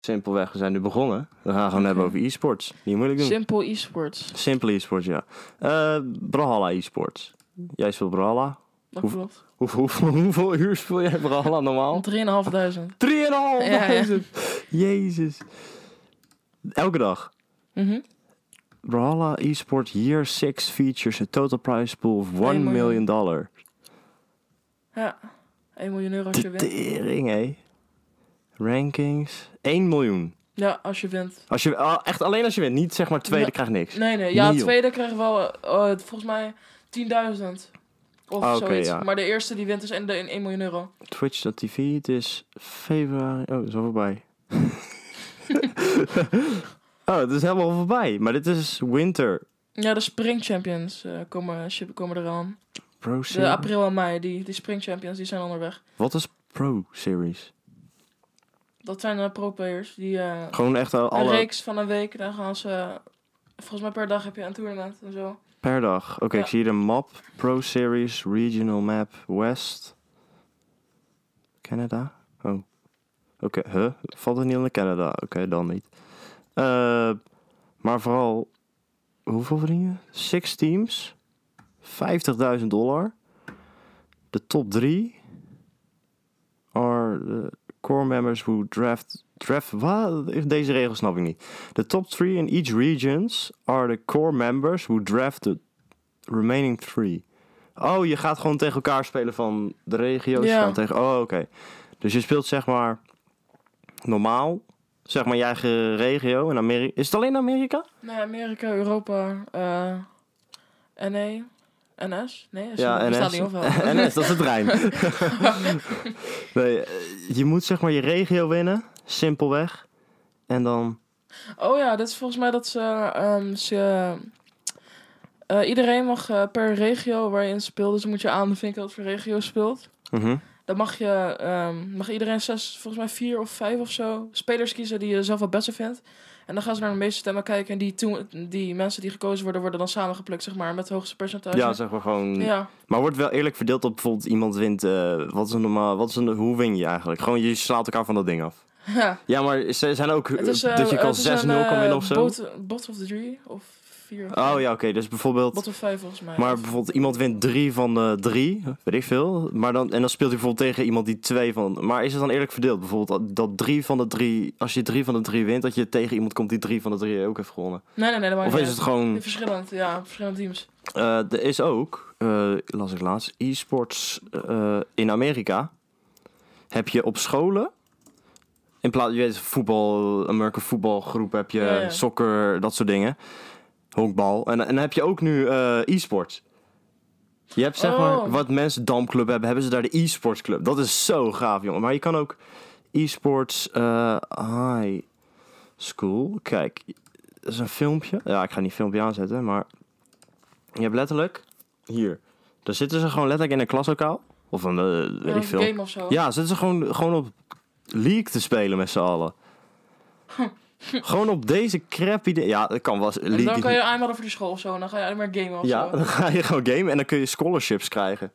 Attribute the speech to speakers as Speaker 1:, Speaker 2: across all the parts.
Speaker 1: Simpelweg, we zijn nu begonnen. We gaan gewoon hebben over e-sports. Niet moeilijk doen.
Speaker 2: Simpel e-sports.
Speaker 1: Simpel e-sports, ja. Eh Brawlhalla e-sports. Jij speelt Brawlhalla.
Speaker 2: Dat
Speaker 1: Hoe-
Speaker 2: klopt.
Speaker 1: Hoe, hoeveel- hoeveel uur speel jij Brawlhalla normaal?
Speaker 2: 3.500.
Speaker 1: 3,5!
Speaker 2: Ja, ja.
Speaker 1: Jezus. Elke dag.
Speaker 2: Mhm.
Speaker 1: Brawlhalla e-sport year 6 features a total prize pool of 1
Speaker 2: miljoen.
Speaker 1: million dollar.
Speaker 2: Ja. 1 miljoen euro als je
Speaker 1: De
Speaker 2: wint.
Speaker 1: tering, hé. Rankings. 1 miljoen.
Speaker 2: Ja, als je wint.
Speaker 1: Als je, ah, echt alleen als je wint. Niet zeg maar tweede
Speaker 2: Ja.
Speaker 1: krijgt niks.
Speaker 2: Nee, nee. Ja,
Speaker 1: Niet, joh.
Speaker 2: tweede krijg je wel, eh, eh, volgens mij, 10.000. Of
Speaker 1: Ah, oké,
Speaker 2: zoiets.
Speaker 1: ja.
Speaker 2: Maar de eerste die wint is in, de, in 1 miljoen euro.
Speaker 1: Twitch.tv, het is februari. Oh, het is al voorbij. oh, het is helemaal voorbij. Maar dit is winter.
Speaker 2: Ja, de Spring Champions eh, komen, ship- komen eraan.
Speaker 1: Pro
Speaker 2: De
Speaker 1: Series.
Speaker 2: april en mei, die, die Spring Champions, die zijn onderweg.
Speaker 1: Wat is Pro Series?
Speaker 2: Dat zijn eh, pro-players. Die eh,
Speaker 1: Gewoon echt al-
Speaker 2: een
Speaker 1: alle
Speaker 2: reeks van een week, dan gaan ze... Volgens mij per dag heb je een toernooi en zo.
Speaker 1: per dag. Oké, ik
Speaker 2: Ja.
Speaker 1: zie hier een map. Pro Series, Regional Map, West. Canada? Oh. Oké, huh? Valt het niet onder Canada? Oké, dan niet. Eh, maar vooral, hoeveel verdien je? Six teams, 50.000 dollar. De top drie are the core members who draft... draft wat? Deze regel snap ik niet. The top three in each regions are the core members who draft the remaining three. Oh, je gaat gewoon tegen elkaar spelen van de regio's.
Speaker 2: Ja.
Speaker 1: Van tegen, oh, oké. Dus je speelt zeg maar normaal, zeg maar je eigen regio in Amerika. Is het alleen Amerika?
Speaker 2: Nee, Amerika, Europa, eh NA, NS? Nee, is
Speaker 1: Ja,
Speaker 2: dat bestaat
Speaker 1: NS.
Speaker 2: niet of wel?
Speaker 1: NS, dat is het Rijn. nee, eh, je moet zeg maar je regio winnen, simpelweg. En dan,
Speaker 2: Oh ja, dat is volgens mij dat ze... ehm, ze eh, iedereen mag eh, per regio waarin ze speelt, dus dan moet je aanvinken wat voor regio je speelt.
Speaker 1: mhm,
Speaker 2: Dan mag, je, ehm, mag iedereen zes, volgens mij vier of vijf of zo, spelers kiezen die je zelf het beste vindt. En dan gaan ze naar de meeste stemmen kijken en die, toen, die mensen die gekozen worden, worden dan samengeplukt, zeg maar, met het hoogste percentage.
Speaker 1: ja, zeg maar gewoon.
Speaker 2: ja.
Speaker 1: Maar wordt wel eerlijk verdeeld op bijvoorbeeld iemand wint. eh, wat is een normaal, wat is een, hoe win je eigenlijk? Gewoon je slaat elkaar van dat ding af.
Speaker 2: ja.
Speaker 1: Ja, maar ze zijn ook
Speaker 2: Het is,
Speaker 1: eh,
Speaker 2: eh,
Speaker 1: dat je kan
Speaker 2: het is
Speaker 1: 6-0
Speaker 2: een,
Speaker 1: kan
Speaker 2: eh,
Speaker 1: winnen of zo.
Speaker 2: Bot, bot of the three of vier.
Speaker 1: Oh ja, oké. Dus bijvoorbeeld.
Speaker 2: Bot of vijf volgens mij.
Speaker 1: Maar
Speaker 2: Of-
Speaker 1: bijvoorbeeld iemand wint drie van de drie, weet ik veel. Maar dan, en dan speelt hij bijvoorbeeld tegen iemand die twee van... Maar is het dan eerlijk verdeeld? Bijvoorbeeld dat- dat drie van de drie... Als je drie van de drie wint, dat je tegen iemand komt die drie van de drie ook heeft gewonnen.
Speaker 2: nee, nee, nee. Dat maakt
Speaker 1: Of is
Speaker 2: niet uit.
Speaker 1: het gewoon...
Speaker 2: Nee, Verschillend, ja. Verschillende teams.
Speaker 1: eh, er is ook, eh, las ik laatst, e-sports eh, in Amerika. Heb je op scholen... In plaats, je weet, voetbal, American voetbalgroep heb je,
Speaker 2: Ja, ja.
Speaker 1: soccer, dat soort dingen. Honkbal. En, en dan heb je ook nu eh e-sports. Je hebt zeg maar,
Speaker 2: Oh.
Speaker 1: wat mensen dampclub hebben, hebben ze daar de e-sports club. Dat is zo gaaf, jongen. Maar je kan ook e-sports eh, high school. Kijk, dat is een filmpje. Ja, ik ga niet filmpje aanzetten, maar je hebt letterlijk hier. Daar zitten ze gewoon letterlijk in een klaslokaal. Of een, eh, weet
Speaker 2: Ja,
Speaker 1: ik
Speaker 2: of
Speaker 1: veel.
Speaker 2: een game of zo.
Speaker 1: Ja, zitten ze gewoon, gewoon op League te spelen met z'n allen. gewoon op deze crappy... de- Ja, dat kan wel. eens-
Speaker 2: En
Speaker 1: League
Speaker 2: dan
Speaker 1: is
Speaker 2: kan je aanmelden voor de school of zo. En dan ga je alleen maar gamen of
Speaker 1: ja,
Speaker 2: zo.
Speaker 1: dan ga je gewoon gamen en dan kun je scholarships krijgen.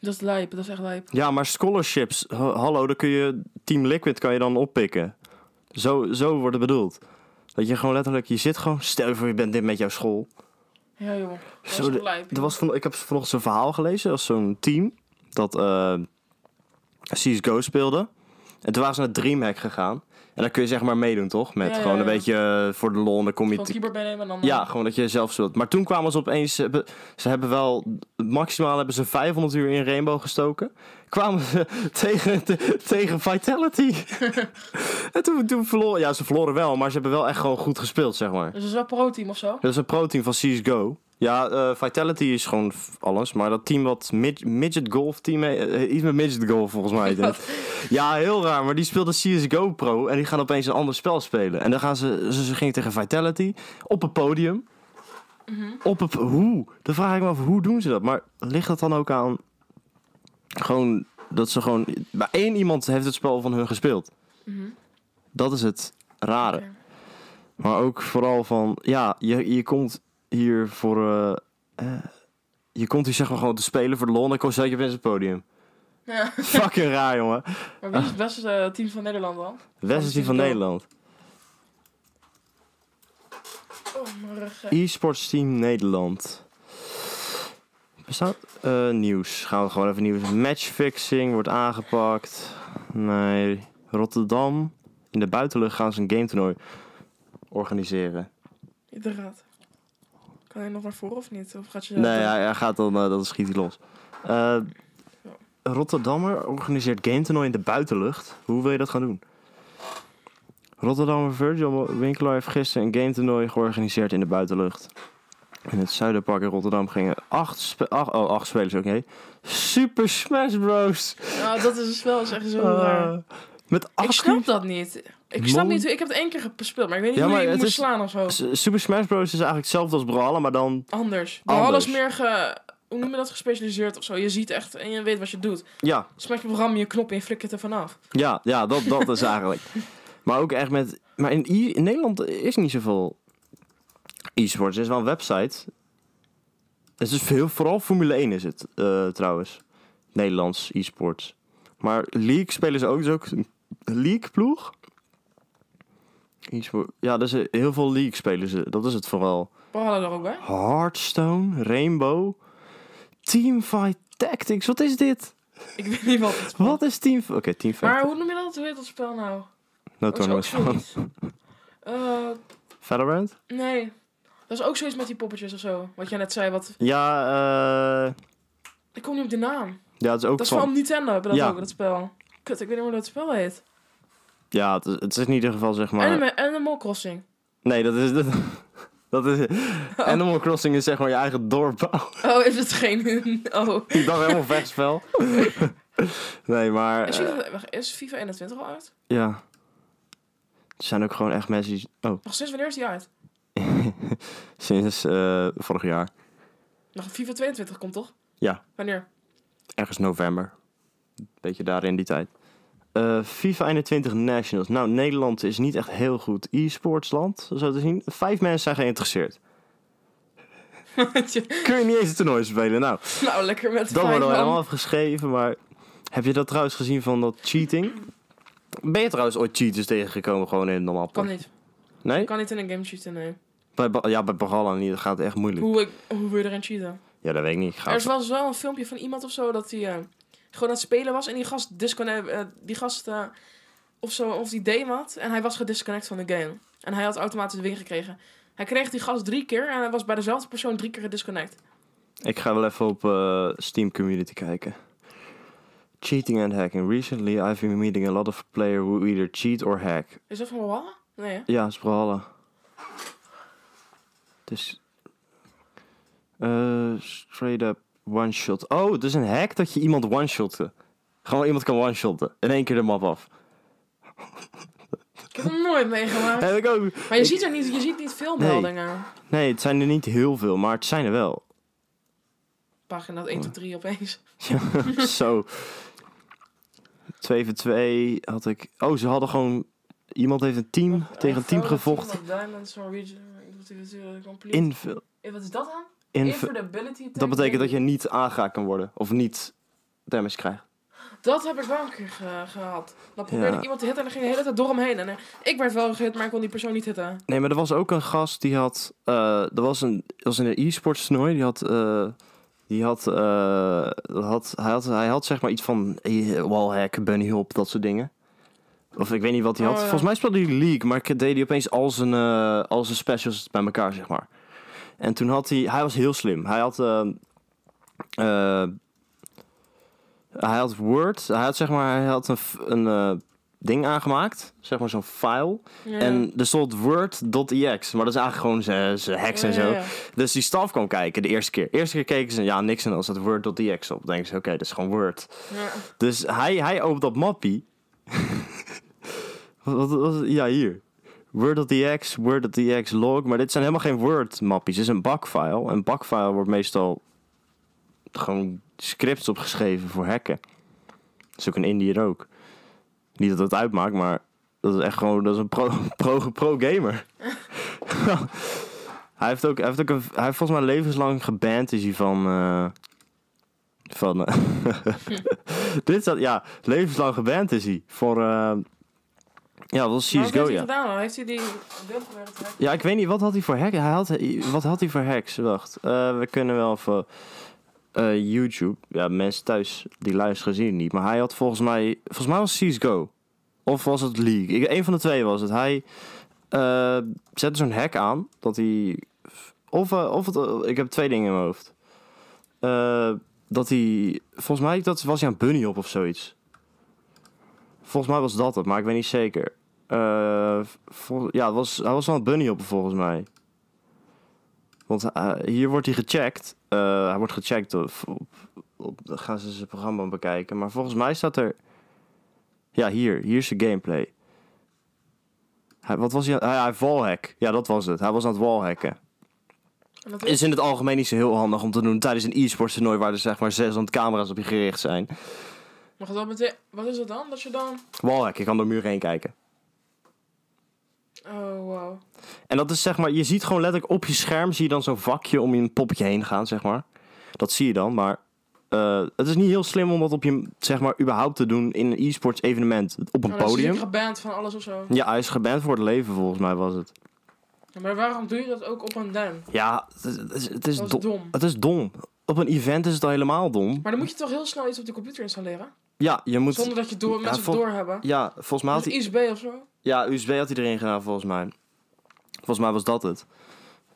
Speaker 2: Dat is lijp. Dat is echt lijp.
Speaker 1: Ja, maar scholarships, ha- hallo, dan kun je Team Liquid kan je dan oppikken. Zo, zo wordt het bedoeld. Dat je gewoon letterlijk, je zit gewoon, stel je voor je bent dit met jouw school.
Speaker 2: Ja, joh. Dat
Speaker 1: Zo,
Speaker 2: is echt
Speaker 1: de-
Speaker 2: lijp.
Speaker 1: Er was van, ik heb vanochtend een verhaal gelezen, als zo'n team dat eh CSGO speelde. En toen waren ze naar Dreamhack gegaan. En dan kun je zeg maar meedoen, toch? Met
Speaker 2: Ja, ja,
Speaker 1: gewoon een
Speaker 2: ja.
Speaker 1: beetje eh, voor de lol. En dan kom je
Speaker 2: Gewoon keeper meenemen en dan... eh,
Speaker 1: Ja, gewoon dat je zelf zult. Maar toen kwamen ze opeens. Ze hebben, ze hebben wel. Maximaal hebben ze 500 uur in Rainbow gestoken. Kwamen ze tegen, te- tegen Vitality. en toen, toen verloren. Ja, ze verloren wel. Maar ze hebben wel echt gewoon goed gespeeld, zeg maar.
Speaker 2: Dus dat is wel pro-team of zo.
Speaker 1: Dat is een pro-team van CSGO. Ja, eh, Vitality is gewoon f- alles. Maar dat team wat mid- Midget Golf team... he- eh, iets met Midget Golf volgens mij. heet het. ja, heel raar. Maar die speelde CSGO Pro. En die gaan opeens een ander spel spelen. En dan gaan ze... Ze, ze gingen tegen Vitality. Op het podium.
Speaker 2: Mhm.
Speaker 1: Op het... Hoe? Dan vraag ik me af, hoe doen ze dat? Maar ligt dat dan ook aan... Gewoon... Dat ze gewoon... Maar één iemand heeft het spel van hun gespeeld.
Speaker 2: Mhm.
Speaker 1: Dat is het rare.
Speaker 2: Oké.
Speaker 1: Maar ook vooral van, ja, je, je komt hier voor. eh, eh, je komt hier zeg maar gewoon te spelen voor de lol en dan kom- zet je op het podium.
Speaker 2: Ja.
Speaker 1: Fucking raar, jongen.
Speaker 2: Maar wie is
Speaker 1: Ah.
Speaker 2: het beste eh, team van Nederland dan?
Speaker 1: West is die van Nederland.
Speaker 2: Oh, mijn rug. eh.
Speaker 1: E-sports team Nederland. Bestaat eh, nieuws. Gaan we gewoon even nieuws. Matchfixing wordt aangepakt. Nee. Rotterdam. In de buitenlucht gaan ze een game toernooi organiseren.
Speaker 2: Inderdaad. Kan hij nog naar voren of niet? Of gaat je...
Speaker 1: Nee, hij, hij gaat dan, eh, dan schiet hij los. Eh, Rotterdammer organiseert game toernooi in de buitenlucht. Hoe wil je dat gaan doen? Rotterdammer Virgil Winkelaar heeft gisteren een game toernooi georganiseerd in de buitenlucht. In het Zuiderpark in Rotterdam gingen acht, spe- ach- oh, acht spelers, oké. Super Smash Bros.
Speaker 2: Nou, dat is wel eens echt zo raar.
Speaker 1: Eh, met
Speaker 2: Ik
Speaker 1: acht
Speaker 2: snap dat niet. Ik snap
Speaker 1: Mol-
Speaker 2: niet hoe... Ik heb het één keer gespeeld, maar ik weet niet
Speaker 1: Ja,
Speaker 2: hoe
Speaker 1: maar
Speaker 2: je
Speaker 1: het
Speaker 2: moet
Speaker 1: is-
Speaker 2: slaan of zo.
Speaker 1: S- Super Smash Bros. is eigenlijk hetzelfde als Brawlhalla, maar dan...
Speaker 2: Anders. Alles
Speaker 1: Anders.
Speaker 2: is meer ge... Hoe noem je dat? Gespecialiseerd of zo. Je ziet echt en je weet wat je doet.
Speaker 1: Ja,
Speaker 2: Smaak je programma je knop en je flikkert er vanaf.
Speaker 1: Ja, ja dat, dat is eigenlijk. Maar ook echt met. Maar in, I- in Nederland is niet zoveel e-sports. Er is wel een website. Het is dus veel, vooral Formule 1 is het eh, trouwens. Nederlands e-sports. Maar League spelen ze ook. Dus ook een League ploeg. E-sport. Ja, dus eh, heel veel League spelen ze. Dat is het vooral.
Speaker 2: We hadden er ook bij.
Speaker 1: Hearthstone, Rainbow, Teamfight Tactics. Wat is dit?
Speaker 2: Ik weet niet wat het
Speaker 1: Wat is Team... Oké, Teamfight.
Speaker 2: Maar hoe noem je dat? Hoe heet dat spel nou?
Speaker 1: no
Speaker 2: Dat is ook
Speaker 1: tournaments.
Speaker 2: zoiets. Eh,
Speaker 1: Valorant?
Speaker 2: nee. Dat is ook zoiets met die poppetjes of zo. Wat jij net zei. Wat...
Speaker 1: Ja, eh
Speaker 2: Ik kom niet op de naam.
Speaker 1: ja het is ook
Speaker 2: Dat is
Speaker 1: van...
Speaker 2: van Nintendo. Hebben dat
Speaker 1: Ja.
Speaker 2: ook, dat spel. Kut, ik weet niet meer hoe dat spel heet.
Speaker 1: Ja, het is, het is in ieder geval zeg maar...
Speaker 2: Anime, Animal Crossing.
Speaker 1: Nee, dat is... Dat, dat is Animal Crossing is zeg maar je eigen dorp bouwen.
Speaker 2: Oh, is het geen... Oh.
Speaker 1: Ik dacht helemaal vechtspel. nee, maar...
Speaker 2: Is,
Speaker 1: eh,
Speaker 2: FIFA wacht, is FIFA 21 al uit?
Speaker 1: ja. Er zijn ook gewoon echt mensen die... Oh,
Speaker 2: Nog sinds wanneer is die uit?
Speaker 1: sinds eh, vorig jaar.
Speaker 2: Nog FIFA 22 komt toch?
Speaker 1: Ja.
Speaker 2: Wanneer?
Speaker 1: Ergens november. Beetje daar in die tijd. Eh, FIFA 21 Nationals. Nou, Nederland is niet echt heel goed e-sportsland, zo te zien. Vijf mensen zijn geïnteresseerd. Kun je niet eens het toernooi spelen? Nou,
Speaker 2: nou, lekker met
Speaker 1: Dat
Speaker 2: vijf
Speaker 1: wordt al
Speaker 2: man.
Speaker 1: helemaal afgeschreven, maar heb je dat trouwens gezien van dat cheating? Ben je trouwens ooit cheaters tegengekomen gewoon in het normaal
Speaker 2: Kan
Speaker 1: pad?
Speaker 2: niet.
Speaker 1: Nee?
Speaker 2: Kan niet in een game cheaten, nee.
Speaker 1: Bij, Ba- ja, bij Baralla niet, dat gaat echt moeilijk.
Speaker 2: Hoe, ik, hoe wil je erin cheaten?
Speaker 1: Ja, dat weet ik niet. Ik ga
Speaker 2: Er was wel een filmpje van iemand of zo dat hij eh, gewoon aan het spelen was. En die gast, disconnect, eh, die gast eh, of zo, of die deed wat. En hij was gedisconnect van de game. En hij had automatisch de win gekregen. Hij kreeg die gast drie keer en hij was bij dezelfde persoon drie keer gedisconnect.
Speaker 1: Ik ga wel even op eh, Steam Community kijken. Cheating and hacking. Recently I've been meeting a lot of players who either cheat or hack.
Speaker 2: Is dat van Walhalla? Nee, hè?
Speaker 1: Ja, is Brawlhalla. Dus... eh, straight up one-shot. Oh, het is een hack dat je iemand one-shotte. Gewoon iemand kan one-shotten. In één keer de map af.
Speaker 2: Ik heb hem nooit meegemaakt.
Speaker 1: Heb ik ook.
Speaker 2: Maar je ziet er niet, je ziet niet veel
Speaker 1: Nee.
Speaker 2: meldingen.
Speaker 1: Nee, het zijn er niet heel veel, maar het zijn er wel.
Speaker 2: Pagina 1 tot 3 opeens.
Speaker 1: Zo. 2 voor 2 had ik... Oh, ze hadden gewoon... Iemand heeft een team tegen een team gevochten.
Speaker 2: Diamonds, Norwegian, complete.
Speaker 1: Invul.
Speaker 2: Eh, Wat is dat dan?
Speaker 1: Invul.
Speaker 2: Invincibility.
Speaker 1: Dat betekent dat je niet aangeraakt kan worden. Of niet damage krijgt.
Speaker 2: Dat heb ik wel een keer ge- gehad. Dan probeerde
Speaker 1: Ja.
Speaker 2: ik iemand te hitten en dan ging de hele tijd door hem heen. En eh, ik werd wel gehit, maar ik kon die persoon niet hitten.
Speaker 1: Nee, maar er was ook een gast die had. eh, er was een. dat was in een e-sports toernooi. Die had. eh, die had, eh, dat had, hij had. Hij had zeg maar iets van. eh, Wallhack, bunny hop, dat soort dingen. Of ik weet niet wat hij
Speaker 2: Oh,
Speaker 1: had.
Speaker 2: ja.
Speaker 1: Volgens mij speelde hij League, maar ik deed hij opeens al zijn, eh, al zijn specials bij elkaar, zeg maar. En toen had hij. Hij was heel slim. Hij had. ehm, eh, hij had Word. Hij had zeg maar. Hij had een, f- een eh, ding aangemaakt. Zeg maar zo'n file.
Speaker 2: Ja.
Speaker 1: En er stond Word.ex, E maar dat is eigenlijk gewoon zijn- zijn hacks en
Speaker 2: Ja,
Speaker 1: zo.
Speaker 2: ja, ja.
Speaker 1: Dus die staf kwam kijken de eerste keer. eerste keer keken ze, ja, niks en dan staat Word.ex op. Dan denken ze, oké, dat is gewoon Word.
Speaker 2: Ja.
Speaker 1: Dus hij, hij opent dat mappie. wat, wat, wat- ja, hier. Word.ex, Word.ex, log. Maar dit zijn helemaal geen Word-mappies. Dit is een bakfile. Een bakfile wordt meestal gewoon scripts opgeschreven voor hacken. Dat is ook een Indiër ook. Niet dat het uitmaakt, maar dat is echt gewoon dat is een pro-gamer. Pro, pro gamer. hij, heeft ook, hij, heeft ook een, hij heeft volgens mij levenslang geband is hij van... eh, van eh, Dit staat, ja, levenslang geband is hij. Voor, eh, ja, dat was
Speaker 2: Maar wat
Speaker 1: CSGO,
Speaker 2: heeft hij
Speaker 1: ja.
Speaker 2: gedaan? dan? Heeft hij die beeld proberen te hacken?
Speaker 1: Ja, ik weet niet, wat had hij voor hack? Hij had, wat had hij voor hacks? Wacht, eh, we kunnen wel even... eh, YouTube, ja, mensen thuis die luisteren zien het niet. Maar hij had volgens mij... Volgens mij was het CSGO. Of was het League? Ik, een van de twee was het. Hij eh, zette zo'n hack aan dat hij... Of, eh, of het, eh, ik heb twee dingen in mijn hoofd. Eh, dat hij... Volgens mij dat was hij aan Bunny op of zoiets. Volgens mij was dat het, maar ik weet niet zeker. Eh, vol- ja, het was, hij was wel een bunny op volgens mij. Want eh, hier wordt hij gecheckt. Eh, hij wordt gecheckt op, op, op- dan gaan ze zijn programma bekijken. Maar volgens mij staat er... Ja, hier. Hier is de gameplay. Hij, wat was hij? aan- Hij, hij wallhack. Ja, dat was het. Hij was aan het wallhacken.
Speaker 2: En dat
Speaker 1: Is in het algemeen niet zo heel handig om te doen tijdens een e-sports toernooi... waar er zeg maar 600 camera's op je gericht zijn.
Speaker 2: Maar dat meteen... Wat is dat dan? Dat je dan...
Speaker 1: Wallhack. Je kan door muur heen kijken.
Speaker 2: Oh, wow.
Speaker 1: En dat is zeg maar, je ziet gewoon letterlijk op je scherm zie je dan zo'n vakje om je een poppetje heen gaan, zeg maar. Dat zie je dan, maar eh, het is niet heel slim om dat op je, zeg maar, überhaupt te doen in een e-sports evenement. Op een
Speaker 2: Oh, dan is hij
Speaker 1: podium.
Speaker 2: zeker geband van alles of zo.
Speaker 1: Ja, hij is geband voor het leven volgens mij was het.
Speaker 2: Ja, maar waarom doe je dat ook op een dam?
Speaker 1: Ja, het is, het is, het is
Speaker 2: Dat is
Speaker 1: dom.
Speaker 2: dom.
Speaker 1: Het is dom. Op een event is het al helemaal dom.
Speaker 2: Maar dan moet je toch heel snel iets op de computer installeren?
Speaker 1: Ja, je moet...
Speaker 2: Zonder dat je door,
Speaker 1: Ja,
Speaker 2: mensen
Speaker 1: vol-
Speaker 2: het doorhebben.
Speaker 1: Ja, volgens mij had
Speaker 2: Dus
Speaker 1: hij...
Speaker 2: ISB of zo?
Speaker 1: Ja, USB had hij erin gedaan volgens mij. Volgens mij was dat het.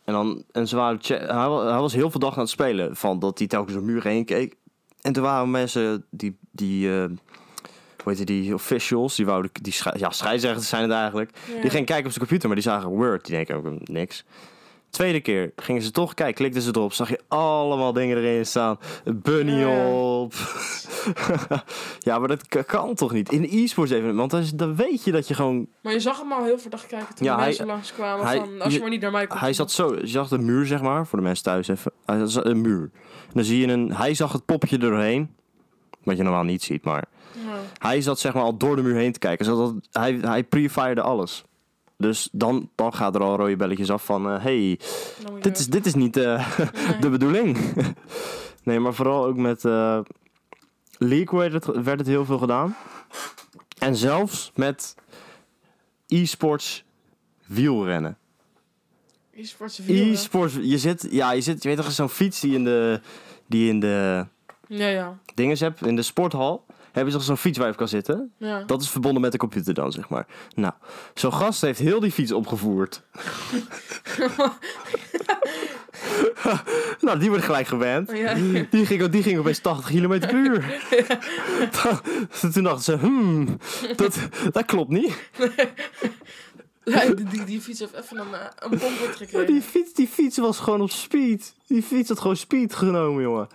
Speaker 1: En dan een zware che- Hij, wa- hij was heel veel dag aan het spelen. Van dat hij telkens om muren heen keek. En toen waren mensen die. die eh, hoe heet het, die officials, die wouden, die schei- ja, scheidsrechters zijn het eigenlijk.
Speaker 2: Ja.
Speaker 1: Die gingen kijken op zijn computer, maar die zagen Word. Die denken ook eh, niks. Tweede keer gingen ze toch kijken, klikten ze erop, zag je allemaal dingen erin staan. Bunny
Speaker 2: Ja, ja.
Speaker 1: op. ja, maar dat k- kan toch niet? In e-sports even, want dan is- dan weet je dat je gewoon
Speaker 2: Maar je zag hem al heel verdacht kijken toen
Speaker 1: Ja, hij-
Speaker 2: mensen langskwamen
Speaker 1: hij-
Speaker 2: van... Als je
Speaker 1: je-
Speaker 2: maar niet naar mij komt.
Speaker 1: Hij zat zo, je zag de muur zeg maar, voor de mensen thuis even. Hij zat een muur. En dan zie je een, hij zag het popje erdoorheen. Wat je normaal niet ziet, maar
Speaker 2: Ja.
Speaker 1: hij zat zeg maar al door de muur heen te kijken. Zodat hij, hij pre-firede alles. Dus dan, dan gaat er al rode belletjes af van, eh, hey,
Speaker 2: Dan moet je-
Speaker 1: dit is, dit is niet eh,
Speaker 2: Nee.
Speaker 1: de bedoeling. nee, maar vooral ook met eh League werd het, werd het heel veel gedaan. En zelfs met e-sports wielrennen.
Speaker 2: E-sports wielrennen.
Speaker 1: E-sports, je zit, ja, je zit, je weet toch zo'n fiets die in de, die in de
Speaker 2: Ja, ja.
Speaker 1: dinges hebt, in de sporthal. Heb je toch zo'n fiets waar je op kan zitten?
Speaker 2: ja.
Speaker 1: Dat is verbonden met de computer dan, zeg maar. Nou, zo'n gast heeft heel die fiets opgevoerd. nou, die wordt gelijk gewend.
Speaker 2: Oh, Ja.
Speaker 1: Die ging, die ging opeens 80 km per uur. Toen dachten ze, hmm, dat, dat klopt niet.
Speaker 2: Ja, die, die, die fiets heeft even een, eh, een pompert gekregen.
Speaker 1: Oh, Die fiets, die fiets was gewoon op speed. Die fiets had gewoon speed genomen, jongen.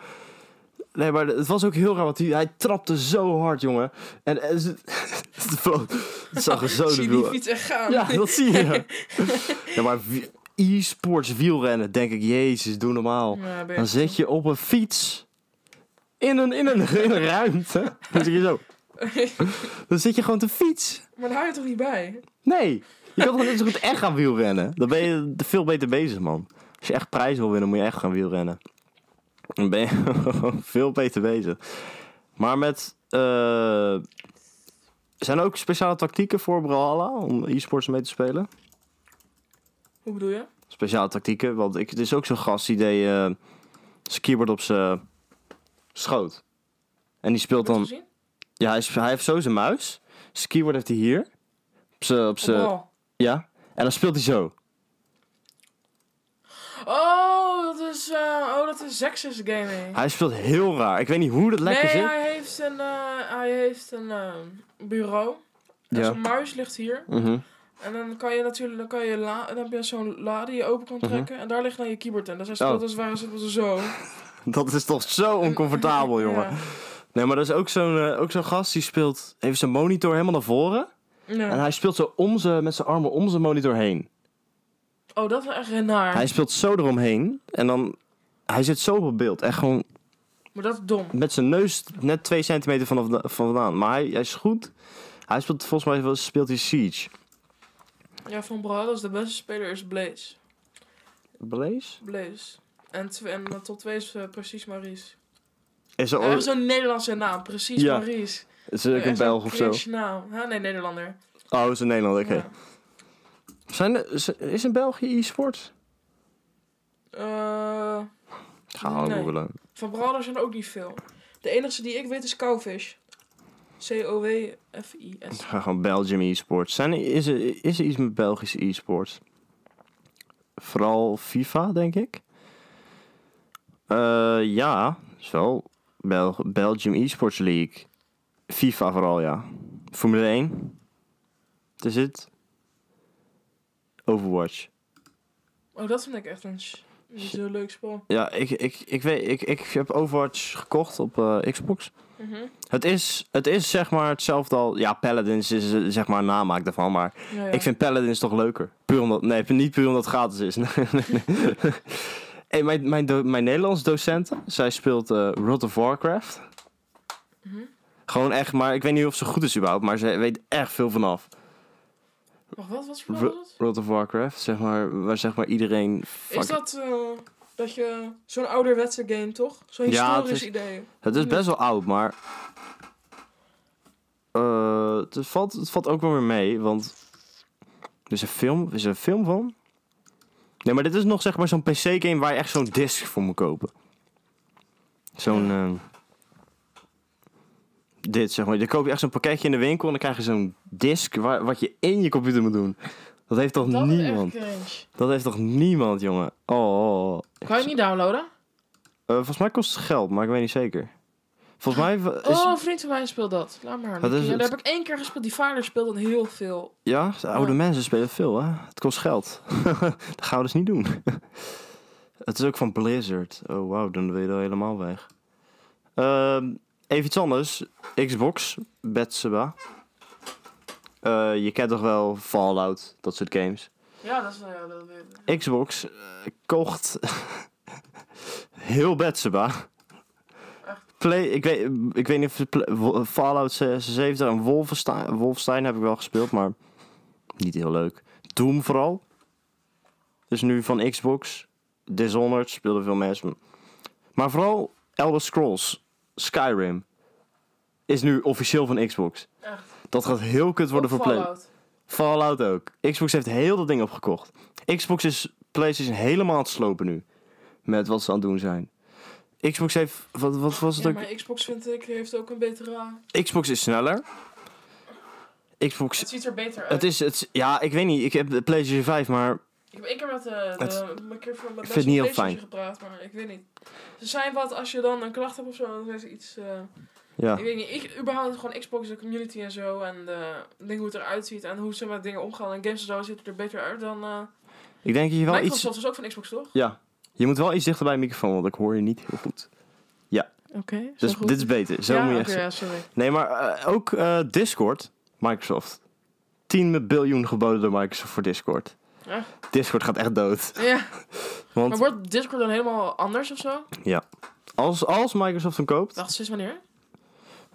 Speaker 1: Nee, maar het was ook heel raar, want hij, hij trapte zo hard, jongen. En, en ze- het, vlo- het zag er zo
Speaker 2: Oh, Zie je
Speaker 1: dubbel
Speaker 2: die
Speaker 1: uit.
Speaker 2: fiets echt gaan.
Speaker 1: Ja, dat zie je. ja, maar wie- e-sports wielrennen, denk ik, jezus, doe normaal.
Speaker 2: Ja, ben je-
Speaker 1: Dan zit je op een fiets in een, in een, in een ruimte. Dan zit je zo. Dan zit je gewoon te fiets.
Speaker 2: Maar daar hou je toch niet bij?
Speaker 1: Nee, je kan toch net zo goed echt gaan wielrennen? Dan ben je veel beter bezig, man. Als je echt prijs wil winnen, moet je echt gaan wielrennen. Dan ben je veel beter bezig. Maar met... eh, zijn er ook speciale tactieken voor Brawlhalla om e-sports mee te spelen?
Speaker 2: Hoe bedoel je?
Speaker 1: Speciale tactieken, want ik, het is ook zo'n gast die deed eh, zijn keyboard op zijn schoot. En die speelt
Speaker 2: Heb je het
Speaker 1: dan...
Speaker 2: gezien?
Speaker 1: Ja, hij, is- hij heeft zo zijn muis. Zijn keyboard heeft hij hier. Op zijn... Op zijn
Speaker 2: Oh,
Speaker 1: ja. En dan speelt hij zo.
Speaker 2: oh, dat is, eh, oh, dat is Sexist Gaming.
Speaker 1: Hij speelt heel raar. Ik weet niet hoe dat lekker
Speaker 2: nee,
Speaker 1: zit.
Speaker 2: hij heeft een, eh, hij heeft een eh, bureau. En
Speaker 1: Ja.
Speaker 2: Zijn muis ligt hier.
Speaker 1: Mhm.
Speaker 2: En dan kan je natuurlijk, dan, kan je la, dan heb je zo'n la die je open kan trekken. En daar ligt dan je keyboard in. Dus hij speelt
Speaker 1: Mhm. Oh.
Speaker 2: als het ware zit zo.
Speaker 1: Dat is toch zo oncomfortabel, jongen.
Speaker 2: Ja.
Speaker 1: Nee, maar dat is ook zo'n eh, ook zo'n gast die speelt. Heeft zijn monitor helemaal naar voren.
Speaker 2: Ja.
Speaker 1: En hij speelt zo om zijn, met zijn armen om zijn monitor heen.
Speaker 2: Oh, dat is echt naar.
Speaker 1: Hij speelt zo eromheen. En dan. Hij zit zo op het beeld. Echt gewoon
Speaker 2: Maar dat is dom.
Speaker 1: met zijn neus net twee centimeter vanaf van vandaan. Maar hij, hij is goed. Hij speelt volgens mij wel- speelt hij Siege.
Speaker 2: Ja, van Brawlhalla's de beste speler is Blaze.
Speaker 1: Blaze?
Speaker 2: Blaze. En, tw- en eh, tot twee is eh, precies Maries.
Speaker 1: Is
Speaker 2: We
Speaker 1: er
Speaker 2: hebben
Speaker 1: ooit...
Speaker 2: zo'n Nederlandse naam, precies
Speaker 1: Oh. Ja.
Speaker 2: Maurice.
Speaker 1: Is er ook een
Speaker 2: Echt zo'n
Speaker 1: Belg of zo?
Speaker 2: cringe naam. Huh? Nee, Nederlander.
Speaker 1: Oh, is in Nederland, oké.
Speaker 2: Ja.
Speaker 1: Zijn er- is- is in België e-sport?
Speaker 2: Eh,
Speaker 1: Ga gewoon
Speaker 2: Nee.
Speaker 1: googlen.
Speaker 2: van Brawler zijn er ook niet veel. De enige die ik weet is Cowfish. C-O-W-F-I-S.
Speaker 1: Ga gewoon Belgium e-sports. Zijn er- is, er, is er iets met Belgische e-sports? Vooral FIFA, denk ik. Eh, ja, is wel Bel Belgium e-sports league. FIFA vooral, ja. Formule 1. Dat is het. Overwatch.
Speaker 2: Oh, dat vind ik echt een, sh- een zo leuk spel.
Speaker 1: Ja, ik, ik, ik, weet, ik, ik heb Overwatch gekocht op eh, Xbox.
Speaker 2: Mhm.
Speaker 1: Het is, het is zeg maar hetzelfde al... Ja, Paladins is eh, zeg maar een namaak daarvan, maar...
Speaker 2: Ja, ja.
Speaker 1: Ik vind Paladins toch leuker. Puur omdat, nee, niet puur omdat het gratis is. Nee, nee, nee. Hey, mijn, mijn, do- mijn Nederlands docenten, zij speelt eh World of Warcraft.
Speaker 2: Mhm.
Speaker 1: Gewoon echt, maar ik weet niet of ze goed is überhaupt, maar ze weet echt veel vanaf.
Speaker 2: Wacht, wat? Wat voor spel was het?
Speaker 1: World of Warcraft, zeg maar, waar zeg maar iedereen...
Speaker 2: Is
Speaker 1: fucking-
Speaker 2: dat eh, dat je zo'n ouderwetse game, toch? Zo'n
Speaker 1: Ja, het
Speaker 2: historisch
Speaker 1: is-
Speaker 2: idee.
Speaker 1: Het is best wel oud, maar... eh, het, valt, het valt ook wel weer mee, want... Er is een film, is er een film van? Nee, maar dit is nog zeg maar zo'n PC-game waar je echt zo'n disc voor moet kopen. Zo'n... ehm, dit, zeg maar. Dan koop je echt zo'n pakketje in de winkel en dan krijg je zo'n disc waar, wat je in je computer moet doen. Dat heeft toch
Speaker 2: Dat is echt
Speaker 1: niemand?
Speaker 2: cringe.
Speaker 1: Dat heeft toch niemand, jongen? Oh.
Speaker 2: Kan je het niet downloaden?
Speaker 1: Eh, volgens mij kost het geld, maar ik weet niet zeker. Volgens mij wa- is...
Speaker 2: Oh, een vriend van mij speelt dat. Laat maar.
Speaker 1: Wat is
Speaker 2: Ja,
Speaker 1: het?
Speaker 2: dat heb ik één keer gespeeld. Die vader speelt dan heel veel.
Speaker 1: Ja, de oude
Speaker 2: Ja.
Speaker 1: mensen spelen veel, hè? Het kost geld. dat gaan we dus niet doen. het is ook van Blizzard. Oh, wauw, dan ben je er helemaal weg. Ehm, even iets anders. Xbox, Betseba. Eh, je kent toch wel Fallout, dat soort games.
Speaker 2: Ja, dat is wel. Ja, dat weet ik.
Speaker 1: Xbox eh, kocht heel Betseba. Play, ik, weet, ik weet niet of het Pla- Wo- Fallout 76 en Wolfenstein, Wolfenstein heb ik wel gespeeld, maar niet heel leuk. Doom vooral. Dus nu van Xbox. Dishonored speelden veel mensen. Maar vooral Elder Scrolls, Skyrim, is nu officieel van Xbox.
Speaker 2: Echt.
Speaker 1: Dat gaat heel kut worden voor Play.
Speaker 2: Fallout.
Speaker 1: Fallout ook. Xbox heeft heel dat ding opgekocht. Xbox is PlayStation helemaal aan het slopen nu. Met wat ze aan het doen zijn. Xbox heeft. Wat, wat was het
Speaker 2: Ja,
Speaker 1: ook?
Speaker 2: maar Xbox vind ik heeft ook een betere.
Speaker 1: Xbox is sneller. Xbox.
Speaker 2: Het ziet er beter uit.
Speaker 1: Het is, het is- Ja, ik weet niet. Ik heb de PlayStation 5, maar
Speaker 2: Ik heb één keer met de, de,
Speaker 1: Het-
Speaker 2: mijn keer van mijn
Speaker 1: vind het niet heel
Speaker 2: PlayStation
Speaker 1: fijn.
Speaker 2: gepraat, maar ik weet niet. Ze zijn wat als je dan een klacht hebt of zo, dan zijn ze iets. eh,
Speaker 1: ja.
Speaker 2: Ik weet niet, ik überhaupt gewoon Xbox, de community en zo. En eh dingen hoe het eruit ziet en hoe ze met dingen omgaan. En games en zo ziet het er beter uit dan. eh,
Speaker 1: Ik denk dat je wel iets.
Speaker 2: Microsoft is ook van Xbox, toch?
Speaker 1: Ja. Je moet wel iets dichter bij de microfoon, want ik hoor je niet heel goed.
Speaker 2: Oké.
Speaker 1: Dus dit is beter. Zo moet je echt.
Speaker 2: ja, sorry.
Speaker 1: Nee, maar eh, ook eh, Discord, Microsoft. 10 biljoen geboden door Microsoft voor Discord.
Speaker 2: Ja.
Speaker 1: Discord gaat echt dood.
Speaker 2: Ja.
Speaker 1: Want
Speaker 2: Maar wordt Discord dan helemaal anders of zo?
Speaker 1: Als, als Microsoft hem koopt.
Speaker 2: Wacht, sinds wanneer?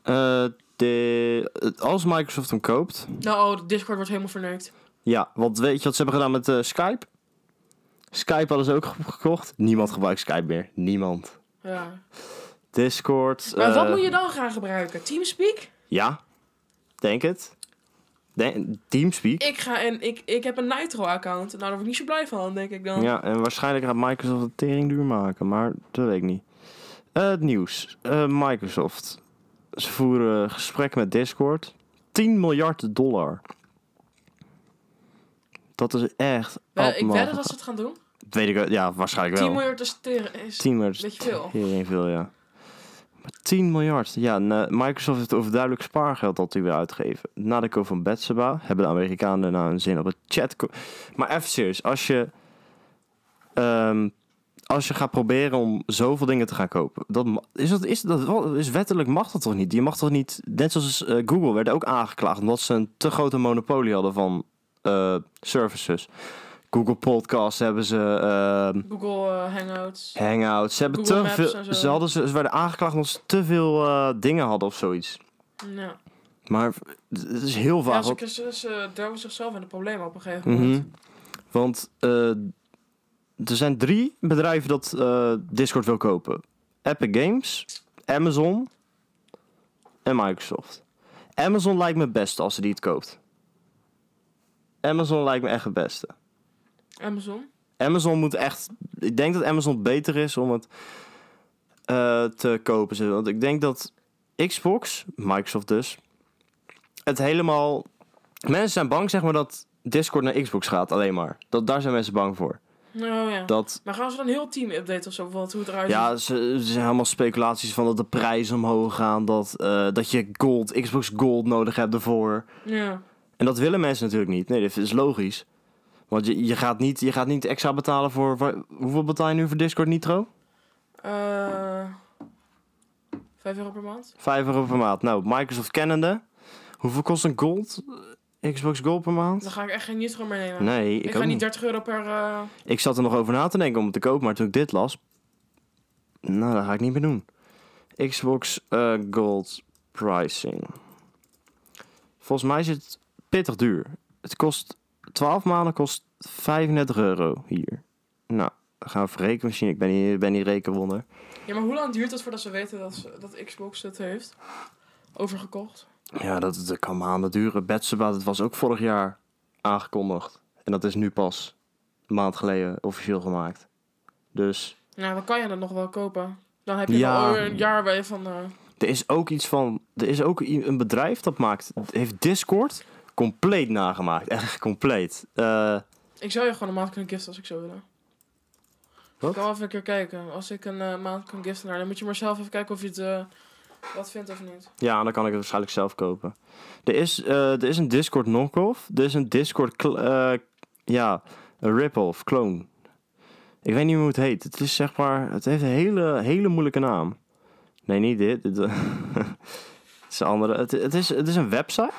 Speaker 1: eh, de, eh, als Microsoft hem koopt.
Speaker 2: Nou, oh, Discord wordt helemaal verneukt.
Speaker 1: Ja, want weet je wat ze hebben gedaan met eh, Skype? Skype hadden ze ook ge- gekocht. Niemand gebruikt Skype meer. Niemand.
Speaker 2: Ja.
Speaker 1: Discord.
Speaker 2: Maar wat
Speaker 1: eh,
Speaker 2: moet je dan gaan gebruiken? Teamspeak?
Speaker 1: Ja, denk het. Denk- Teamspeak.
Speaker 2: Ik, ga en, ik, ik heb een Nitro-account. Nou, daar word ik niet zo blij van, denk ik dan.
Speaker 1: Ja, en waarschijnlijk gaat Microsoft het tering duur maken, maar dat weet ik niet. Eh, het nieuws. Eh, Microsoft. Ze voeren gesprek met Discord. 10 miljard dollar. Dat is echt...
Speaker 2: Eh, ik
Speaker 1: abnormaal.
Speaker 2: weet dat ze het gaan doen.
Speaker 1: Weet ik wel. Ja, waarschijnlijk
Speaker 2: 10
Speaker 1: wel.
Speaker 2: miljard is, ter- is
Speaker 1: 10 miljard.
Speaker 2: een beetje veel.
Speaker 1: Heel veel, ja. Maar 10 miljard. Ja, en, eh, Microsoft heeft overduidelijk spaargeld dat hij wil uitgeven. Na de koop van Betseba hebben de Amerikanen nou een zin op het chat. Maar even serieus, als je, ehm, als je gaat proberen om zoveel dingen te gaan kopen, dat, ma- is, dat, is, dat, wel- is wettelijk mag dat toch niet? Je mag toch niet, net zoals eh, Google werd ook aangeklaagd omdat ze een te grote monopolie hadden van eh, services. Google Podcasts hebben ze. ehm,
Speaker 2: Google eh, Hangouts.
Speaker 1: Hangouts. Ze hebben
Speaker 2: Google
Speaker 1: te
Speaker 2: Maps en
Speaker 1: veel.
Speaker 2: zo.
Speaker 1: Ze, hadden, ze ze werden aangeklaagd omdat ze te veel eh, dingen hadden of zoiets.
Speaker 2: Ja.
Speaker 1: Maar het is heel
Speaker 2: Ja,
Speaker 1: vaag.
Speaker 2: ze,
Speaker 1: ook-
Speaker 2: ze, ze duwen zichzelf in de problemen op een gegeven moment.
Speaker 1: Mhm. Want eh, er zijn drie bedrijven dat eh, Discord wil kopen: Epic Games, Amazon en Microsoft. Amazon lijkt me het beste als ze die het koopt. Amazon lijkt me echt het beste.
Speaker 2: Amazon.
Speaker 1: Amazon moet echt. Ik denk dat Amazon beter is om het eh, te kopen. zeg. Want ik denk dat Xbox, Microsoft dus, het helemaal. Mensen zijn bang, zeg maar, dat Discord naar Xbox gaat alleen maar. Dat, daar zijn mensen bang voor.
Speaker 2: Oh ja.
Speaker 1: Dat.
Speaker 2: Maar gaan ze dan heel team updaten of zo? Bijvoorbeeld hoe het eruit ziet?
Speaker 1: Ja, ze, er zijn helemaal speculaties van dat de prijzen omhoog gaan. Dat, eh, dat je gold, Xbox Gold nodig hebt ervoor.
Speaker 2: Ja.
Speaker 1: En dat willen mensen natuurlijk niet. Nee, dat is logisch. Want je, je, gaat, niet, je gaat niet extra betalen voor, voor- Hoeveel betaal je nu voor Discord Nitro?
Speaker 2: Eh, Vijf euro per maand?
Speaker 1: 5 euro per maand. Nou, Microsoft kennende. Hoeveel kost een gold? eh, Xbox Gold per
Speaker 2: Dan
Speaker 1: maand?
Speaker 2: ga ik echt geen nitro meer nemen.
Speaker 1: Nee, ik,
Speaker 2: ik
Speaker 1: ook
Speaker 2: ga niet
Speaker 1: niet.
Speaker 2: 30 euro per... eh,
Speaker 1: Ik zat er nog over na te denken om het te kopen, maar toen ik dit las... Nou, dat ga ik niet meer doen. Xbox eh, Gold pricing. Volgens mij is het pittig duur. Het kost... 12 maanden kost 35 euro hier. Nou, dan gaan we voor rekenmachine. Ik ben niet, ben niet rekenwonder.
Speaker 2: Ja, maar hoe lang duurt het voordat ze weten dat, ze- dat Xbox het heeft overgekocht?
Speaker 1: Ja, dat, dat kan maanden duren. Betseba, dat was ook vorig jaar aangekondigd. En dat is nu pas een maand geleden officieel gemaakt. Dus
Speaker 2: Nou, dan kan je dat nog wel kopen. Dan heb je
Speaker 1: Ja.
Speaker 2: al een jaar bij je van... eh,
Speaker 1: er is ook iets van... Er is ook i- een bedrijf dat maakt... Heeft Discord compleet nagemaakt. Echt compleet. Eh,
Speaker 2: ik zou je gewoon een maand kunnen giften als ik zou willen.
Speaker 1: Wat?
Speaker 2: Ik kan wel even een keer kijken. Als ik een eh, maand kan giften naar, dan moet je maar zelf even kijken of je het eh, wat vindt of niet.
Speaker 1: ja, dan kan ik het waarschijnlijk zelf kopen. Er is, eh, er is een Discord knock-off. Er is een Discord... kl- eh, ja, een rip-off, clone. Ik weet niet meer hoe het heet. Het is zeg maar... Het heeft een hele, hele moeilijke naam. Nee, niet dit. Dit, eh, het, is een andere. Het, het, is, het is een website.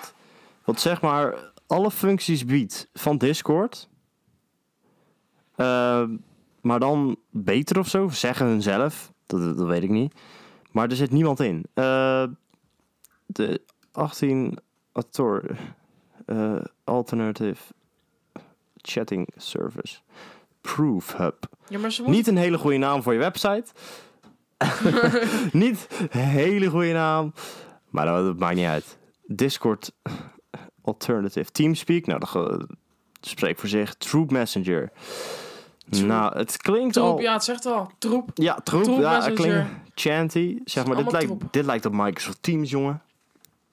Speaker 1: Wat zeg maar alle functies biedt van Discord. Ehm, maar dan beter of zo. Zeggen hun zelf. Dat, dat weet ik niet. Maar er zit niemand in. Eh, de 18 autor, eh, alternative chatting service. Proof Hub.
Speaker 2: Ja, maar ze moeten...
Speaker 1: Niet een hele goede naam voor je website. niet een hele goede naam. Maar dat, dat maakt niet uit. Discord Alternative Teamspeak. Nou, dat ge- spreekt voor zich. Troop Messenger.
Speaker 2: Troop.
Speaker 1: Nou, het klinkt
Speaker 2: Troep,
Speaker 1: al...
Speaker 2: ja, het zegt al. Troep.
Speaker 1: Ja, troep.
Speaker 2: Troep
Speaker 1: ja, het
Speaker 2: Messenger.
Speaker 1: klinkt chanty. Zeg maar, dit
Speaker 2: Allemaal
Speaker 1: lijkt,
Speaker 2: troep.
Speaker 1: dit lijkt op Microsoft Teams, jongen.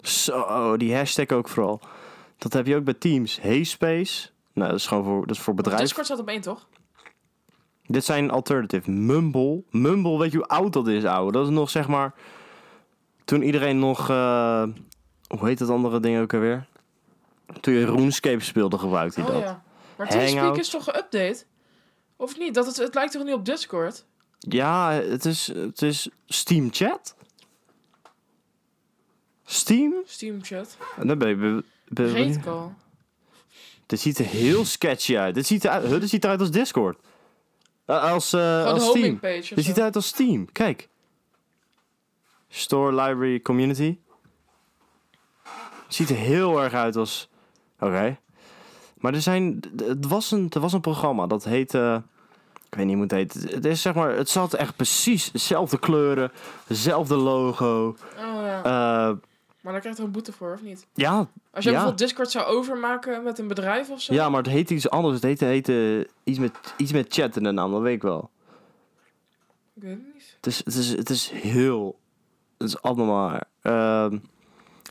Speaker 1: Zo, die hashtag ook vooral. Dat heb je ook bij Teams. Heyspace. Nou, dat is gewoon voor, dat is voor bedrijven.
Speaker 2: Discord staat op één, toch?
Speaker 1: Dit zijn alternative. Mumble. Mumble, weet je hoe oud dat is, ouwe? Dat is nog, zeg maar... Toen iedereen nog... eh, hoe heet dat andere ding ook alweer? Toen je RuneScape speelde, gebruikte hij
Speaker 2: Oh
Speaker 1: dat.
Speaker 2: ja. Maar Teamspeak
Speaker 1: Hangout.
Speaker 2: is toch geüpdate? Of niet? Dat het, het lijkt toch niet op Discord?
Speaker 1: Ja, het is, het is Steam Chat. Steam?
Speaker 2: Steam chat.
Speaker 1: En Dan ben je... be- be-
Speaker 2: Reet ik
Speaker 1: Eh,
Speaker 2: al.
Speaker 1: dit ziet er heel sketchy uit. Dit ziet, eruit, huh, dit ziet eruit als Discord. Eh, als eh,
Speaker 2: Gewoon de
Speaker 1: als Steam.
Speaker 2: homepage.
Speaker 1: Dit
Speaker 2: of zo.
Speaker 1: ziet eruit als Steam. Kijk. Store, library, community. Ziet er heel erg uit als... Oké. Maar er zijn... d- Het was een, er was een programma. Dat heette... ik weet niet hoe het heet. Het, is zeg maar, het zat echt precies dezelfde kleuren. Dezelfde logo.
Speaker 2: Oh, ja.
Speaker 1: Eh,
Speaker 2: Maar daar krijg je toch een boete voor, of niet?
Speaker 1: ja,
Speaker 2: Als jij
Speaker 1: Ja.
Speaker 2: bijvoorbeeld Discord zou overmaken met een bedrijf of zo.
Speaker 1: ja, maar het heette iets anders. Het heette, heette iets, met, iets met chat in de naam. Dat weet ik wel.
Speaker 2: Ik weet het niet.
Speaker 1: Het is, het is, het is heel... Het is allemaal maar. Ehm,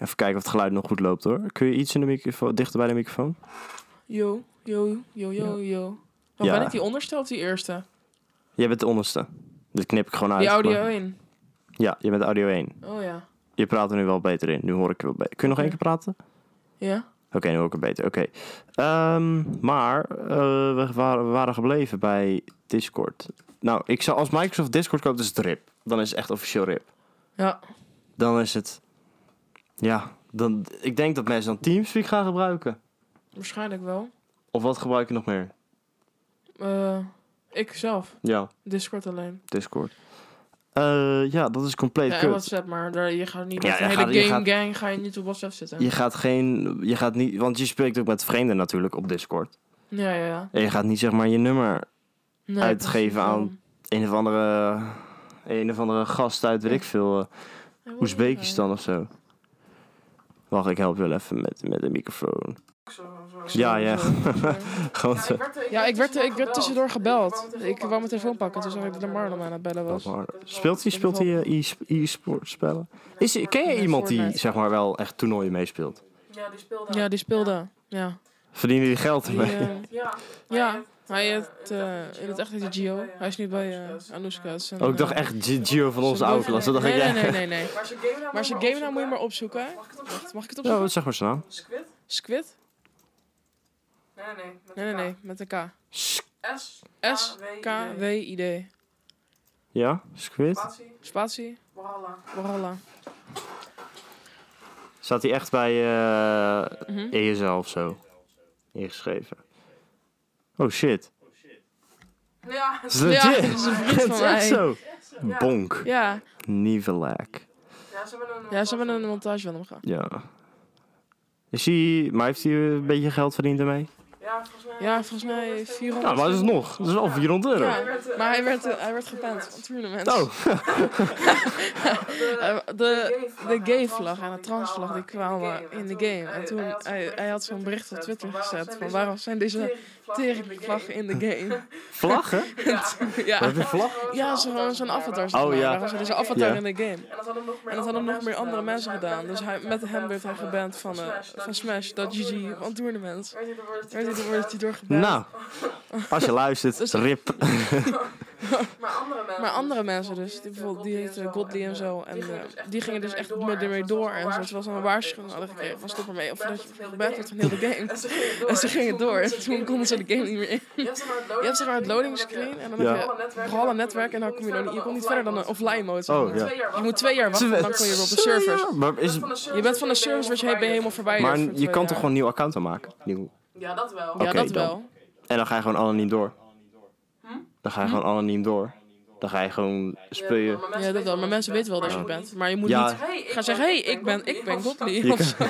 Speaker 1: even kijken of het geluid nog goed loopt hoor. Kun je iets in de microfoon, dichter bij de microfoon?
Speaker 2: Yo, yo, yo, yo, yo. Dan
Speaker 1: Ja.
Speaker 2: ben ik die onderste of die eerste?
Speaker 1: Jij bent de onderste. Dit knip ik gewoon uit.
Speaker 2: Die audio
Speaker 1: maar-
Speaker 2: 1.
Speaker 1: Ja, je bent audio 1.
Speaker 2: Oh ja.
Speaker 1: Je praat er nu wel beter in. Nu hoor ik je wel beter. Kun je nog één
Speaker 2: Oké.
Speaker 1: keer praten?
Speaker 2: Ja?
Speaker 1: Oké, nu hoor ik het beter. Oké. Ehm, maar eh, we, waren, we waren gebleven bij Discord. Nou, ik zou als Microsoft Discord koopt, is het RIP. Dan is het echt officieel RIP.
Speaker 2: Ja.
Speaker 1: Dan is het... Ja, dan, ik denk dat mensen dan Teamspeak gaan gebruiken.
Speaker 2: Waarschijnlijk wel.
Speaker 1: Of wat gebruik je nog meer?
Speaker 2: Eh, ik zelf.
Speaker 1: Ja,
Speaker 2: Discord alleen.
Speaker 1: Discord. Eh, ja, dat is compleet
Speaker 2: Ja, en
Speaker 1: kut.
Speaker 2: WhatsApp, maar daar, je gaat niet
Speaker 1: Ja,
Speaker 2: met
Speaker 1: je
Speaker 2: een
Speaker 1: gaat- je
Speaker 2: hele game
Speaker 1: gaat-
Speaker 2: gang ga je niet op WhatsApp zitten.
Speaker 1: Je gaat geen, je gaat niet, want je spreekt ook met vreemden natuurlijk op Discord.
Speaker 2: Ja, ja, ja.
Speaker 1: En je gaat niet zeg maar je nummer
Speaker 2: Nee,
Speaker 1: Uitgeven
Speaker 2: precies,
Speaker 1: aan-
Speaker 2: daarom.
Speaker 1: een of andere Een of andere gast uit, weet ik veel, eh, Oezbekistan of zo. Wacht, ik help je wel even met, met de microfoon. Ja, ja. Gewoon zo.
Speaker 2: Ja, ik werd, ik werd tussendoor gebeld. Ik wou mijn telefoon pakken. Toen zag ik dat Lamar nog aan het bellen was.
Speaker 1: Maar Speelt hij speelt hij, eh, e- e-sport spellen? Is, hij- ken je iemand die zeg maar wel echt toernooien meespeelt?
Speaker 3: Ja, die speelde.
Speaker 2: Ja, die speelde. Ja.
Speaker 1: Verdienen die geld
Speaker 2: Die,
Speaker 1: ermee?
Speaker 2: eh,
Speaker 3: Ja.
Speaker 2: ja, hij heeft eh, in het echt heet hij Gio. Hij is nu bij eh Anoushka. Het is een,
Speaker 1: Ook Oh, ik dacht
Speaker 2: eh,
Speaker 1: echt G- Gio van onze
Speaker 2: zijn
Speaker 1: oude klas. Dat dacht ik
Speaker 2: nee, nee,
Speaker 1: echt.
Speaker 2: nee, nee, nee.
Speaker 3: Maar zijn game naam
Speaker 2: Maar zijn game naam moet je maar opzoeken. hè. Wacht, mag ik het
Speaker 1: Ja,
Speaker 2: opzoeken?
Speaker 1: wat zeg maar zijn naam.
Speaker 3: Squid?
Speaker 2: Squid?
Speaker 3: Nee, nee.
Speaker 2: Nee, nee, nee. Met een K.
Speaker 3: S.
Speaker 2: S-K-W-I-D.
Speaker 1: Ja, Squid.
Speaker 2: Spatie. Waralla.
Speaker 1: Staat hij echt bij eh
Speaker 2: Mhm.
Speaker 1: ESL of zo? Ingeschreven. Oh shit.
Speaker 3: Ja.
Speaker 1: Dat is legit.
Speaker 2: dat is een vriend
Speaker 1: Het
Speaker 2: van
Speaker 1: is echt
Speaker 2: mij.
Speaker 1: zo. Bonk.
Speaker 2: Ja.
Speaker 1: Nivellak.
Speaker 3: Ja, ze hebben een...
Speaker 2: ja, ze hebben een montage van hem gehad.
Speaker 1: Ja. Is hij, maar heeft hij een beetje geld verdiend ermee?
Speaker 3: Ja, volgens mij...
Speaker 2: Ja, volgens mij 400.
Speaker 1: Nou, maar dat is nog. Dat is al 400 euro.
Speaker 2: Ja, maar hij werd, eh, hij werd gepand. Een tournament.
Speaker 1: Oh,
Speaker 2: Eh, de, de gay-vlag en de transvlag die kwamen in de game. En toen, hij, hij had zo'n bericht op Twitter gezet van waarom zijn deze teringvlaggen in de game?
Speaker 1: vlaggen? Wat
Speaker 2: Ja,
Speaker 1: is een vlag?
Speaker 2: ja zo- gewoon zo'n avatar. zeg
Speaker 1: Oh,
Speaker 2: maar.
Speaker 1: ja.
Speaker 2: Waarom zijn deze avatar
Speaker 1: Ja.
Speaker 2: in de game?
Speaker 3: En dat hadden nog meer,
Speaker 2: En dat hadden nog meer andere mensen gedaan. Dus hij, met hem werd hij geband van, eh, van Smash, dat GG, van tournament. Werd hij, werd hij doorgeband.
Speaker 1: Nou, als je luistert,
Speaker 2: Dus-
Speaker 1: rip.
Speaker 3: Maar andere mensen.
Speaker 2: Maar andere mensen dus, die bijvoorbeeld die heette Godly en zo, en eh, die gingen dus echt met ermee door en zo. Terwijl ze een waarschuwing hadden gekregen van stop ermee, of dat je geband wordt van heel de game.
Speaker 3: En ze gingen door.
Speaker 2: En ze gingen door en
Speaker 3: en
Speaker 2: toen konden ze de game niet meer in.
Speaker 3: Je hebt zeg maar het
Speaker 2: Je hebt zeg maar het loading
Speaker 3: screen.
Speaker 2: screen en dan
Speaker 1: Ja.
Speaker 2: heb je vooral een netwerk en dan kom je nog niet, je komt niet verder dan een offline mode. zeg
Speaker 1: Oh,
Speaker 2: maar.
Speaker 1: ja.
Speaker 2: Je moet twee jaar wachten, dan kom je weer op de servers.
Speaker 1: Maar, is,
Speaker 2: Je bent van de servers, word je ben je helemaal verwijderd.
Speaker 1: maar
Speaker 2: voor twee
Speaker 1: je kan
Speaker 2: jaar.
Speaker 1: toch gewoon een nieuw account aanmaken? Nieuw.
Speaker 3: Ja, dat wel.
Speaker 2: Ja,
Speaker 1: Oké,
Speaker 2: dat
Speaker 1: dan.
Speaker 2: wel.
Speaker 1: En dan ga je gewoon anoniem door.
Speaker 3: Hm?
Speaker 1: Dan ga je gewoon anoniem door. Dan ga je gewoon spelen.
Speaker 3: maar
Speaker 2: Ja, dat wel. Maar mensen weten wel dat je het bent. Maar je moet
Speaker 1: Ja.
Speaker 2: niet
Speaker 3: Hey,
Speaker 2: gaan zeggen, hey, ik ben, ik ben Godly.
Speaker 1: Je
Speaker 2: of zo.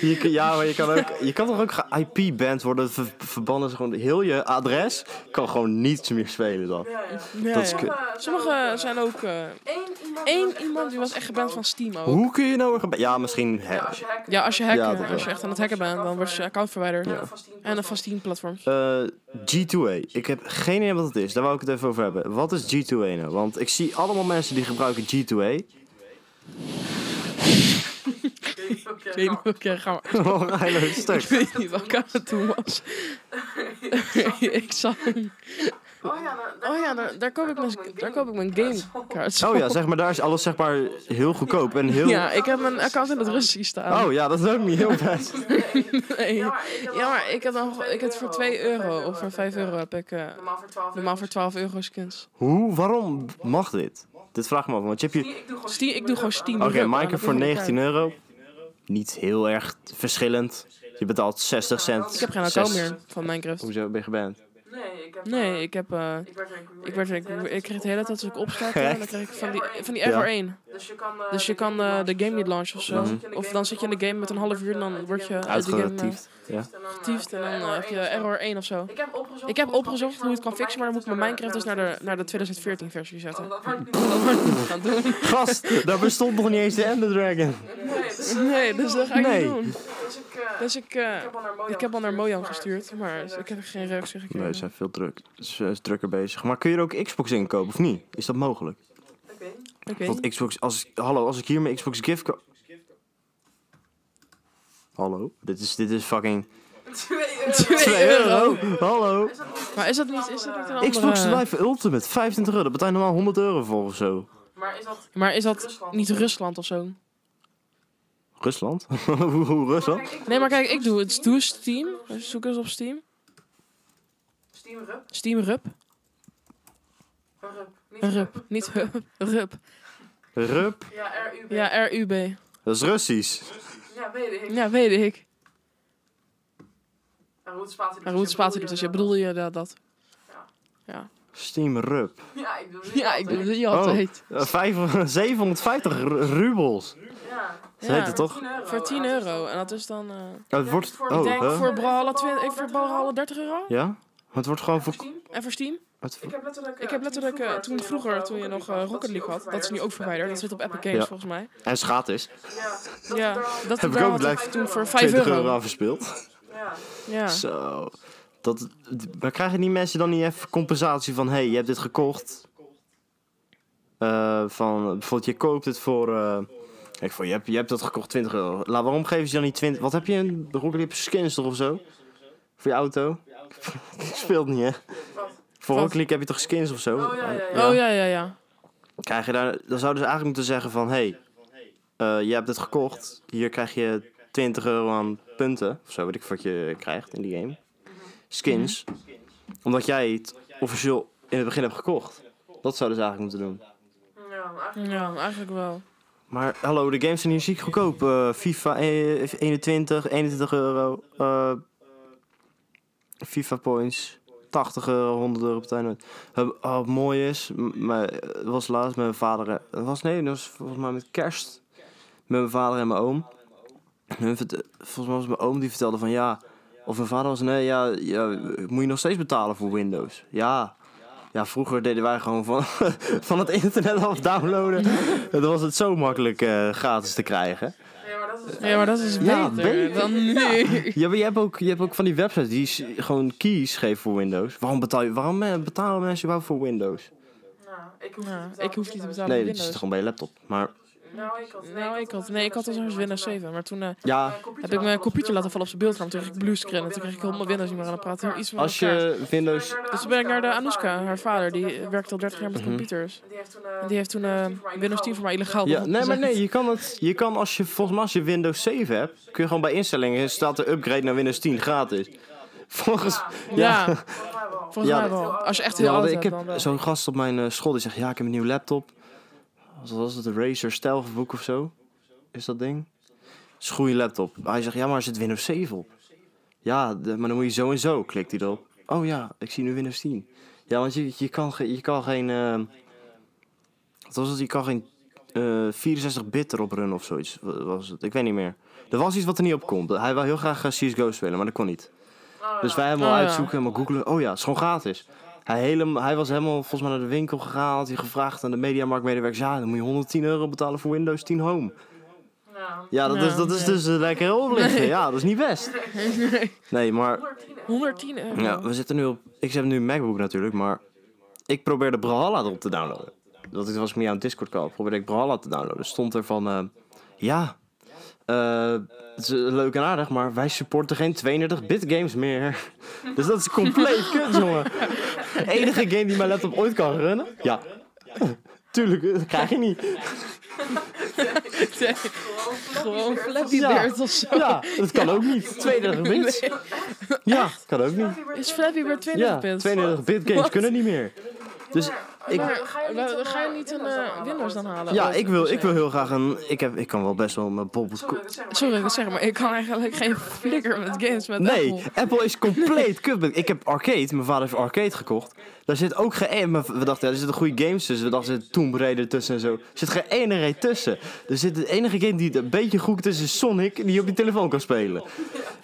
Speaker 1: Je, kan- ja, maar je kan, ook, je kan toch ook ge-IP-band worden? Dat ver- verbannen ze gewoon heel je adres. Kan gewoon niets meer spelen dan.
Speaker 3: Ja, ja.
Speaker 2: Ja,
Speaker 1: Dat is
Speaker 2: ja.
Speaker 1: kut.
Speaker 2: Sommigen zijn ook... eh,
Speaker 3: Eén iemand,
Speaker 2: Eén iemand die was echt geband van Steam ook.
Speaker 1: Hoe kun je nou... weer geba- Ja, misschien... hè.
Speaker 3: Ja, als je hacken.
Speaker 2: Ja, als je
Speaker 1: Ja,
Speaker 2: hacken,
Speaker 1: dat
Speaker 2: als je
Speaker 1: wel.
Speaker 2: echt aan het hacken bent, dan word je account verwijderd.
Speaker 3: Ja, van Steam.
Speaker 2: En dan van Steam platforms.
Speaker 1: Eh, G2A. Ik heb geen idee wat het is. Daar wou ik het even over hebben. Wat is G2A nou? Want ik zie allemaal mensen die gebruiken G2A.
Speaker 2: Ik weet niet welke gaan we-
Speaker 1: Gewoon een hele
Speaker 2: Ik
Speaker 1: stuk.
Speaker 2: weet niet welke aan het doen was. ik zag hem.
Speaker 3: Oh ja, daar- daar-
Speaker 2: Oh ja, daar, daar koop ik mijn, daar koop ik mijn gamekaart.
Speaker 1: Oh ja, zeg maar, daar is alles zeg maar heel goedkoop en heel...
Speaker 2: Ja, ik heb mijn account in het Russisch staan.
Speaker 1: Oh ja, dat is ook niet heel best.
Speaker 2: Nee.
Speaker 3: Ja, maar ik heb
Speaker 2: Ja, maar
Speaker 3: al-
Speaker 2: ik heb, dan, ik heb voor 2 euro of voor 5 euro
Speaker 3: heb
Speaker 2: heb ik eh,
Speaker 3: ik, eh, Normaal voor 12
Speaker 2: normaal voor 12 euro skins.
Speaker 1: Hoe, waarom mag dit? Dit vraag me af, want je hebt je...
Speaker 3: Ik doe gewoon
Speaker 2: Steam, ik doe gewoon Steam.
Speaker 1: Oké,
Speaker 2: Rub, maar dat
Speaker 1: Minecraft voor
Speaker 2: doe ik
Speaker 1: 19 euro. Niet heel erg verschillend. Je betaalt 60 cent.
Speaker 2: Ik heb geen account
Speaker 1: Zes-
Speaker 2: meer van Minecraft.
Speaker 1: Hoezo ben je geband?
Speaker 3: Nee, ik heb...
Speaker 2: Nee, ik heb... eh,
Speaker 3: Ik werd er-
Speaker 2: ik, werd, ik, ik kreeg de hele tijd als ik opstart,
Speaker 1: Echt?
Speaker 2: dan krijg ik van die, van die
Speaker 1: Ja.
Speaker 2: error 1.
Speaker 3: Dus je kan, eh,
Speaker 2: Dus je kan eh, de game niet launchen of zo.
Speaker 3: Mhm.
Speaker 2: Of dan zit je in de game met een half uer en dan word je uit de game eh,
Speaker 1: Uitgeratiefd. Ja.
Speaker 3: en dan, eh,
Speaker 2: getiefd. En dan eh, heb je error 1 of zo.
Speaker 3: Ik heb opgezocht,
Speaker 2: Ik heb
Speaker 3: hoe het kan
Speaker 2: opgezocht hoe het kan fixen, maar dan moet ik mijn Minecraft dus naar de, naar de 2014 versie zetten.
Speaker 3: Oh, dat wordt niet-
Speaker 2: Dat moet ik niet gaan doen.
Speaker 1: Gast, daar bestond nog niet eens de Ender Dragon.
Speaker 3: Nee, dus, eh,
Speaker 2: Nee, dus dat ga ik
Speaker 1: Nee.
Speaker 2: niet doen.
Speaker 3: dus ik, eh,
Speaker 2: Dus ik, eh,
Speaker 3: ik heb al naar Mojang
Speaker 2: ik heb al naar Mojang gestuurd,
Speaker 3: geen
Speaker 2: maar ik
Speaker 3: reactie.
Speaker 2: heb geen reactie
Speaker 1: Nee, ze
Speaker 2: gekregen.
Speaker 1: zijn veel druk. Ze is drukker bezig. Maar kun je er ook Xbox in kopen of niet? Is dat mogelijk?
Speaker 3: Ik weet niet.
Speaker 2: Oké.
Speaker 1: Want Xbox, als ik, hallo, als ik hier mijn Xbox gift ko- Hallo? Dit is, dit is fucking...
Speaker 3: Twee euro.
Speaker 1: 2 euro? Hallo?
Speaker 2: Maar is dat niet, is dat niet een andere...
Speaker 1: Xbox
Speaker 3: eh,
Speaker 1: Live Ultimate, 25 euro. Daar betaal je normaal 100 euro voor of zo.
Speaker 3: Maar is dat...
Speaker 2: Maar is dat
Speaker 3: Rusland?
Speaker 2: niet Rusland of zo?
Speaker 1: Rusland? Hoe hoe Rusland?
Speaker 2: Nee, maar kijk, ik doe het. Doe Steam. Zoek eens op Steam.
Speaker 3: Steam Rup.
Speaker 2: Steam Rub.
Speaker 3: Een Rup. Niet
Speaker 2: Rub, niet Hub. Rub.
Speaker 1: Rup.
Speaker 3: Ja, R-U-B. Ja.
Speaker 2: Ja, RUB.
Speaker 1: Dat is Russisch.
Speaker 3: weet ik.
Speaker 2: Ja, weet ik.
Speaker 3: En hoe het spatie
Speaker 2: Maar hoe het spatie dus, je bedoelde je dat? dat?
Speaker 1: Steam Rup.
Speaker 3: Ja, ik bedoel
Speaker 2: Ja, ik bedoelde je altijd.
Speaker 1: Eh, vijf- 750 ru- rubels.
Speaker 3: Ja.
Speaker 1: Ze heet het toch?
Speaker 2: Voor 10 euro. En dat is dan... eh,
Speaker 1: Het wordt...
Speaker 3: Ja,
Speaker 1: Oh,
Speaker 2: Ik
Speaker 3: ik
Speaker 1: hè?
Speaker 2: eh, denk voor Brawlhalla 20 ik voor Brawlhalla 30 euro?
Speaker 1: Ja? Het wordt gewoon voor...
Speaker 3: Steam?
Speaker 2: En voor Steam?
Speaker 1: Het,
Speaker 3: Ik heb letterlijk... eh,
Speaker 2: ik heb letterlijk eh, toen vroeger, toen je nog eh, Rocket League had, dat is nu ook verwijderd. Dat zit op Epic Games
Speaker 1: Ja.
Speaker 2: volgens mij.
Speaker 1: en is gratis.
Speaker 3: Ja, dat
Speaker 2: Ja,
Speaker 3: daar-
Speaker 2: dat
Speaker 1: Heb ik
Speaker 2: daar
Speaker 1: ook
Speaker 2: had
Speaker 1: blijf-
Speaker 2: toen voor 5
Speaker 1: 20
Speaker 2: euro.
Speaker 1: euro aan verspeeld.
Speaker 3: Ja.
Speaker 2: Ja.
Speaker 1: Zo. Dat, maar krijgen die mensen dan niet even compensatie van... Hé, hey, je hebt dit gekocht. Eh, van, bijvoorbeeld, je koopt het voor... eh, ik voor je, hebt, je hebt dat gekocht 20 euro. La, waarom geven ze dan niet 20... Wat heb je? Een Rocket League skins toch of zo? Voor je auto? Speelt niet, hè?
Speaker 3: Wat?
Speaker 1: Voor
Speaker 2: Wat?
Speaker 1: Rocket League heb je toch skins of zo?
Speaker 3: Oh, ja, ja, ja.
Speaker 2: Oh ja, ja, ja.
Speaker 1: krijg je daar, dan zouden ze eigenlijk moeten zeggen van... hé, hey, eh, je hebt het gekocht. Hier krijg je 20 euro aan punten. Of zo weet ik wat je krijgt in die game. Skins. Omdat jij het officieel in het begin hebt gekocht. Dat zouden ze eigenlijk moeten doen.
Speaker 3: Ja, maar eigenlijk...
Speaker 2: Ja, eigenlijk wel.
Speaker 1: Maar hallo, de games zijn hier ziek goedkoop. Eh, FIFA eh, 21, 21 euro. eh, FIFA points. 80 euro, 100 euro per tijd. Eh, oh, wat mooi is, m- maar het was laatst met mijn vader. eh, Het was nee, dat was volgens mij met kerst. Met mijn vader en mijn oom. Hun vert- Volgens mij was mijn oom die vertelde van ja. Of mijn vader was nee, ja, ja, moet je nog steeds betalen voor Windows? Ja. Ja, vroeger deden wij gewoon van, van het internet af downloaden. Dan was het zo makkelijk eh, gratis te krijgen.
Speaker 3: Nee, maar dat is...
Speaker 2: Nee, maar dat is beter,
Speaker 1: Ja, beter.
Speaker 2: dan nu.
Speaker 1: Ja, maar je hebt ook, je hebt ook van die websites die s- gewoon keys geven voor Windows. Waarom, betaal je, waarom eh, betalen mensen überhaupt voor Windows?
Speaker 3: Nou, ik hoef
Speaker 2: Nou,
Speaker 3: niet te
Speaker 2: ik hoef niet te
Speaker 3: betalen.
Speaker 2: betalen
Speaker 1: Nee,
Speaker 2: voor
Speaker 1: dat zit
Speaker 2: Windows.
Speaker 1: gewoon bij je laptop. Maar
Speaker 3: Nou, ik had...
Speaker 2: Nou, ik had, nee, ik had al zo'n Windows 7, maar toen eh,
Speaker 1: ja,
Speaker 2: heb ik mijn computer laten vallen op zijn beeldscherm. Toen kreeg ik bluescreen en toen kreeg ik helemaal Windows niet meer aan het praten. Helemaal Iets van
Speaker 1: als
Speaker 2: elkaar.
Speaker 1: je Windows...
Speaker 2: Dus toen ben ik naar de Anouska, haar vader, die eh, werkt al 30 jaar met
Speaker 1: Mhm.
Speaker 2: computers.
Speaker 3: Die heeft toen... eh,
Speaker 2: En die heeft toen eh, Windows 10 voor mij illegaal
Speaker 1: Ja,
Speaker 2: begon
Speaker 1: nee,
Speaker 2: te
Speaker 1: maar nee,
Speaker 2: zetten.
Speaker 1: je kan het... Je kan als je, volgens mij als je Windows 7 hebt, kun je gewoon bij instellingen staat de upgrade naar Windows 10 gratis. Volgens...
Speaker 2: Ja,
Speaker 3: Volgens mij wel.
Speaker 2: volgens
Speaker 1: Ja,
Speaker 2: mij
Speaker 1: dat-
Speaker 2: wel. Als je echt heel
Speaker 1: Ja,
Speaker 2: oud
Speaker 1: want
Speaker 2: bent,
Speaker 1: ik
Speaker 2: dan wel.
Speaker 1: heb zo'n gast op mijn eh, school die zegt, ja, ik heb een nieuwe laptop. Wat was het, een Razer stijlboek of zo? Is dat ding? Het is een goede laptop. Hij zegt, ja, maar er zit Windows 7 op. Ja, de- maar dan moet je zo en zo, klikt hij erop. Oh ja, ik zie nu Windows 10. Ja, want je, je, kan, ge- je kan geen... ehm, wat was het? Je kan geen eh, 64-bit erop runnen of zoiets. Wat was het? Ik weet niet meer. Er was iets wat er niet op kon. Hij wil heel graag eh, CSGO spelen, maar dat kon niet.
Speaker 3: Oh,
Speaker 1: Dus
Speaker 3: ja.
Speaker 1: wij helemaal
Speaker 2: Oh, ja.
Speaker 1: uitzoeken, helemaal googelen. Oh ja, het is gewoon gratis. Hij, helemaal, hij was helemaal volgens mij naar de winkel gegaan. Had hij gevraagd aan de mediamarktmedewerkers. Ja, dan moet je 110 euro betalen voor Windows 10 Home.
Speaker 3: Ja.
Speaker 1: Ja, dat is,
Speaker 2: Ja,
Speaker 1: dat is
Speaker 2: ja.
Speaker 1: dus eh, lekker oplichten. Ja, dat is niet best. Nee, maar
Speaker 2: 110
Speaker 3: 110 euro.
Speaker 2: euro.
Speaker 1: ja, we zitten nu op... Ik heb nu een MacBook natuurlijk, maar... Ik probeerde Brawlhalla erop te downloaden. Dat was ik meer aan het Discord call. Probeerde ik Brawlhalla te downloaden. Stond er van... eh, ja, eh, het is eh, leuk en aardig, maar wij supporten geen 32-bit games meer. Dus dat is compleet kut, jongen. De enige game die mijn laptop ooit kan runnen? Ja. Tuurlijk, eh, dat krijg je niet.
Speaker 2: Nee,
Speaker 3: Gewoon flop.
Speaker 2: Gewoon Flappy
Speaker 1: Ja.
Speaker 2: Bird of zo.
Speaker 1: Ja, dat kan ook niet. 32-bit?
Speaker 2: Nee.
Speaker 1: Ja, kan ook niet.
Speaker 2: Is Flappy Bird 32
Speaker 1: Ja,
Speaker 2: bits?
Speaker 1: 32-bit games
Speaker 2: Wat?
Speaker 1: kunnen niet meer. Dus ik-
Speaker 2: Maar waar- ga je niet een
Speaker 3: eh,
Speaker 2: eh, Windows dan halen?
Speaker 1: Ja,
Speaker 2: Of-
Speaker 1: ik wil, ik wil heel graag een. Ik, heb, ik kan wel best wel mijn bobbelt.
Speaker 3: Sorry, dat zeg maar.
Speaker 2: Sorry,
Speaker 3: Ik
Speaker 2: dat
Speaker 3: ga
Speaker 2: zeg maar. Ik kan eigenlijk geen flikker met games met
Speaker 1: Nee,
Speaker 2: Apple.
Speaker 1: Apple is compleet kut. Ik heb arcade, mijn vader heeft arcade gekocht. Daar zit ook geen. en- maar We dachten, ja, er zitten goede games tussen. We dachten, er zit Tomb Raider tussen en zo. Er zit geen ene rij tussen. Er zit de enige game die het een beetje goed is, is Sonic, die je op je telefoon kan spelen.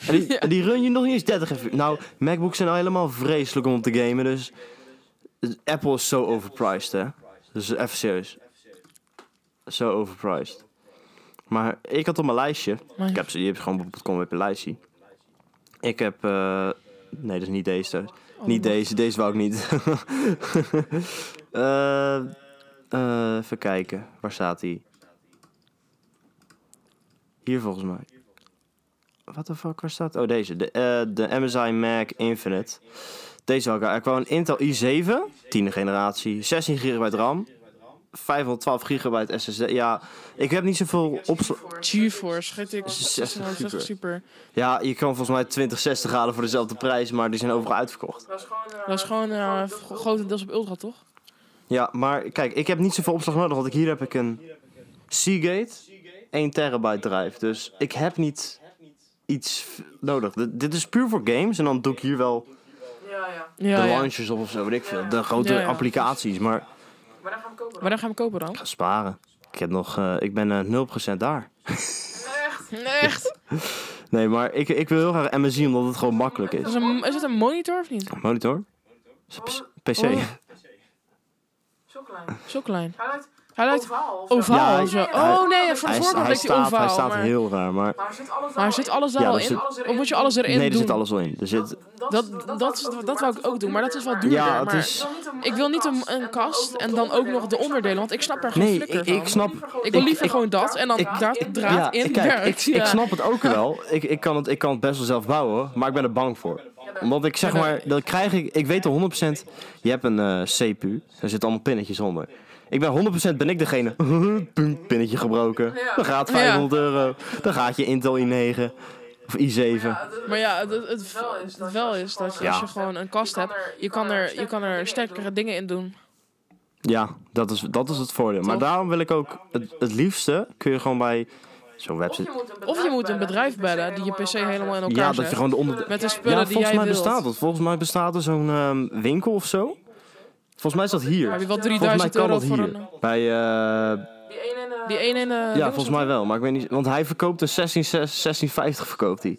Speaker 1: En die, en die run je nog niet eens 30 even. Nou, MacBooks zijn al helemaal vreselijk om te gamen, dus. Apple is zo overpriced, hè? Dus even serieus. Zo overpriced. Maar ik had op mijn lijstje.
Speaker 2: Maar-
Speaker 1: Ik heb ze, je hebt gewoon bijvoorbeeld kom op een lijstje. Ik heb. eh, nee, dat is niet deze. thuis.
Speaker 2: Oh,
Speaker 1: niet
Speaker 2: dat-
Speaker 1: deze, deze wou ik niet. Eh, eh, even kijken, waar staat hij? Hier volgens mij. What the fuck, waar staat? Oh, deze. De, eh, de MSI Mac Infinite. Deze had ik. Ik wou een Intel i7, 10e generatie, 16 GB RAM, 512 GB SSD. Ja, ik heb niet zoveel opslag.
Speaker 2: GeForce, GTX
Speaker 1: 60
Speaker 2: 60 super.
Speaker 1: Ja, je kan volgens mij 2060 halen voor dezelfde prijs, maar die zijn overal uitverkocht.
Speaker 3: Dat is gewoon... eh,
Speaker 2: Dat is gewoon eh,
Speaker 3: gewoon-
Speaker 2: grotendeels op Ultra, toch?
Speaker 1: Ja, maar kijk, ik heb niet zoveel opslag nodig, want ik, hier heb ik een Seagate 1 terabyte drive. Dus ik heb niet iets v- nodig. Dit- dit is puur voor games en dan doe ik hier wel
Speaker 3: Ja, ja.
Speaker 2: Ja,
Speaker 1: de
Speaker 2: ja.
Speaker 1: launchers op of zo, weet ik veel. De grote
Speaker 2: Ja, ja.
Speaker 1: applicaties, maar ik
Speaker 3: Maar dan gaan we kopen.
Speaker 2: Wanneer gaan we kopen dan?
Speaker 1: ga sparen. Ik, heb nog, eh, ik ben eh, 0% daar.
Speaker 3: Echt?
Speaker 2: Echt?
Speaker 1: Nee, maar ik, ik wil heel graag MSI omdat het gewoon makkelijk
Speaker 2: Is,
Speaker 1: is.
Speaker 2: een, is het een monitor of niet?
Speaker 1: Monitor? Is het PC.
Speaker 2: Oh.
Speaker 3: Zo klein.
Speaker 2: Zo klein.
Speaker 3: Hij lijkt
Speaker 2: Hij lijkt
Speaker 3: ovaal. of zo.
Speaker 1: Ja,
Speaker 2: ovaal.
Speaker 1: hij-
Speaker 2: of zo.
Speaker 1: hij-
Speaker 2: oh nee, voor de
Speaker 1: Hij,
Speaker 2: voorkant
Speaker 1: hij,
Speaker 2: lijkt hij
Speaker 1: staat,
Speaker 2: ovaal.
Speaker 1: hij staat
Speaker 2: maar,
Speaker 1: heel raar, maar...
Speaker 3: Maar zit alles er
Speaker 2: maar
Speaker 3: al
Speaker 2: zit
Speaker 3: in?
Speaker 2: alles daar
Speaker 1: Ja,
Speaker 2: al
Speaker 1: daar
Speaker 2: in?
Speaker 1: zit-
Speaker 3: Alles erin
Speaker 2: Of moet je alles erin
Speaker 1: Nee, er
Speaker 2: doen?
Speaker 1: zit alles wel in. Er zit,
Speaker 2: Dat,
Speaker 3: is-
Speaker 2: dat,
Speaker 3: wou ik
Speaker 2: dat,
Speaker 3: ook doen,
Speaker 2: dat wou ik ook doen, maar dat is wel duurder.
Speaker 1: Ja, het
Speaker 2: maar
Speaker 1: is-
Speaker 2: Ik wil niet een, een kast en dan ook nog de onderdelen, want ik snap er gewoon
Speaker 1: Nee,
Speaker 2: flikker
Speaker 1: ik- ik
Speaker 2: van.
Speaker 1: snap-
Speaker 2: Ik wil
Speaker 1: Ik-
Speaker 2: liever gewoon dat en dan
Speaker 1: ik-
Speaker 2: draad, draad
Speaker 1: ja,
Speaker 2: in,
Speaker 1: kijk,
Speaker 2: werkt.
Speaker 1: Ik,
Speaker 2: ja.
Speaker 1: snap het ook wel. Ik, ik, kan het, ik kan het best wel zelf bouwen, maar ik ben er bang voor. Omdat ik zeg maar, dan krijg ik, ik weet al 100%, je hebt een eh, CPU, daar zitten allemaal pinnetjes onder. Ik ben 100% ben ik degene, punk, pinnetje gebroken. Dan gaat 500 euro, dan gaat je Intel i9 of i7.
Speaker 2: Maar ja, het, het, het-
Speaker 3: Wel is dat
Speaker 2: het wel
Speaker 3: als je
Speaker 2: is dat je,
Speaker 3: gewoon-
Speaker 2: als je
Speaker 1: Ja.
Speaker 2: gewoon een kast hebt, je kan er, je kan er sterkere dingen in doen.
Speaker 1: Ja, dat is, dat is het voordeel. Maar
Speaker 2: Toch?
Speaker 1: daarom wil ik ook, het, het liefste kun je gewoon bij zo'n website...
Speaker 2: Of je moet een bedrijf bellen die je PC helemaal in
Speaker 1: Ja,
Speaker 2: elkaar
Speaker 1: dat je
Speaker 2: zet.
Speaker 1: gewoon de onder...
Speaker 2: Met de spullen
Speaker 1: Ja,
Speaker 2: die
Speaker 1: volgens
Speaker 2: jij
Speaker 1: mij
Speaker 2: wilt.
Speaker 1: bestaat dat. Volgens mij bestaat er zo'n ehm, winkel of zo. Volgens mij is dat hier.
Speaker 2: Maar wie wel
Speaker 1: Volgens mij
Speaker 2: 3000
Speaker 1: kan
Speaker 2: euro
Speaker 1: dat
Speaker 2: voor
Speaker 1: hier.
Speaker 2: een...
Speaker 1: Bij, eh,
Speaker 3: Die ene en de...
Speaker 2: Die ene eh, in de...
Speaker 1: ja, volgens mij wel. Maar ik weet niet. Want hij verkoopt dus een 1650 1650 verkoopt hij.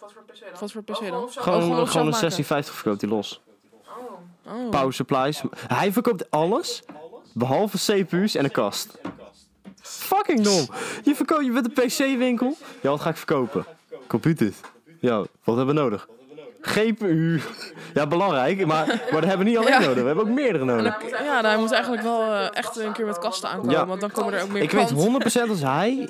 Speaker 3: Wat voor PC dan?
Speaker 2: Wat voor PC
Speaker 3: Oh,
Speaker 2: dan?
Speaker 3: of zo-
Speaker 1: Gewoon,
Speaker 2: gewoon
Speaker 1: gewoon een
Speaker 2: zelf maken.
Speaker 1: 1650 verkoopt hij los.
Speaker 3: Oh.
Speaker 2: Oh.
Speaker 1: Power supplies. Hij verkoopt alles. Behalve CPU's en een kast. Fucking dom. Je, verkoopt, je bent een PC-winkel. Ja, wat ga ik verkopen? Computers. Ja, wat hebben we nodig? GPU. Ja, belangrijk. Maar, maar dat hebben we niet alleen
Speaker 2: Ja.
Speaker 1: nodig. We hebben ook meerdere nodig.
Speaker 3: moet eigenlijk
Speaker 2: Ja,
Speaker 3: wel,
Speaker 2: daar moet
Speaker 3: eh,
Speaker 2: eigenlijk wel
Speaker 3: echt
Speaker 2: eh,
Speaker 3: een
Speaker 2: echt
Speaker 3: kast
Speaker 2: een keer met
Speaker 3: aankomen,
Speaker 2: kasten
Speaker 3: want dan
Speaker 2: aankomen,
Speaker 1: komt-
Speaker 2: want dan komen er ook meer
Speaker 1: Ik weet
Speaker 2: klanten.
Speaker 1: 100% als hij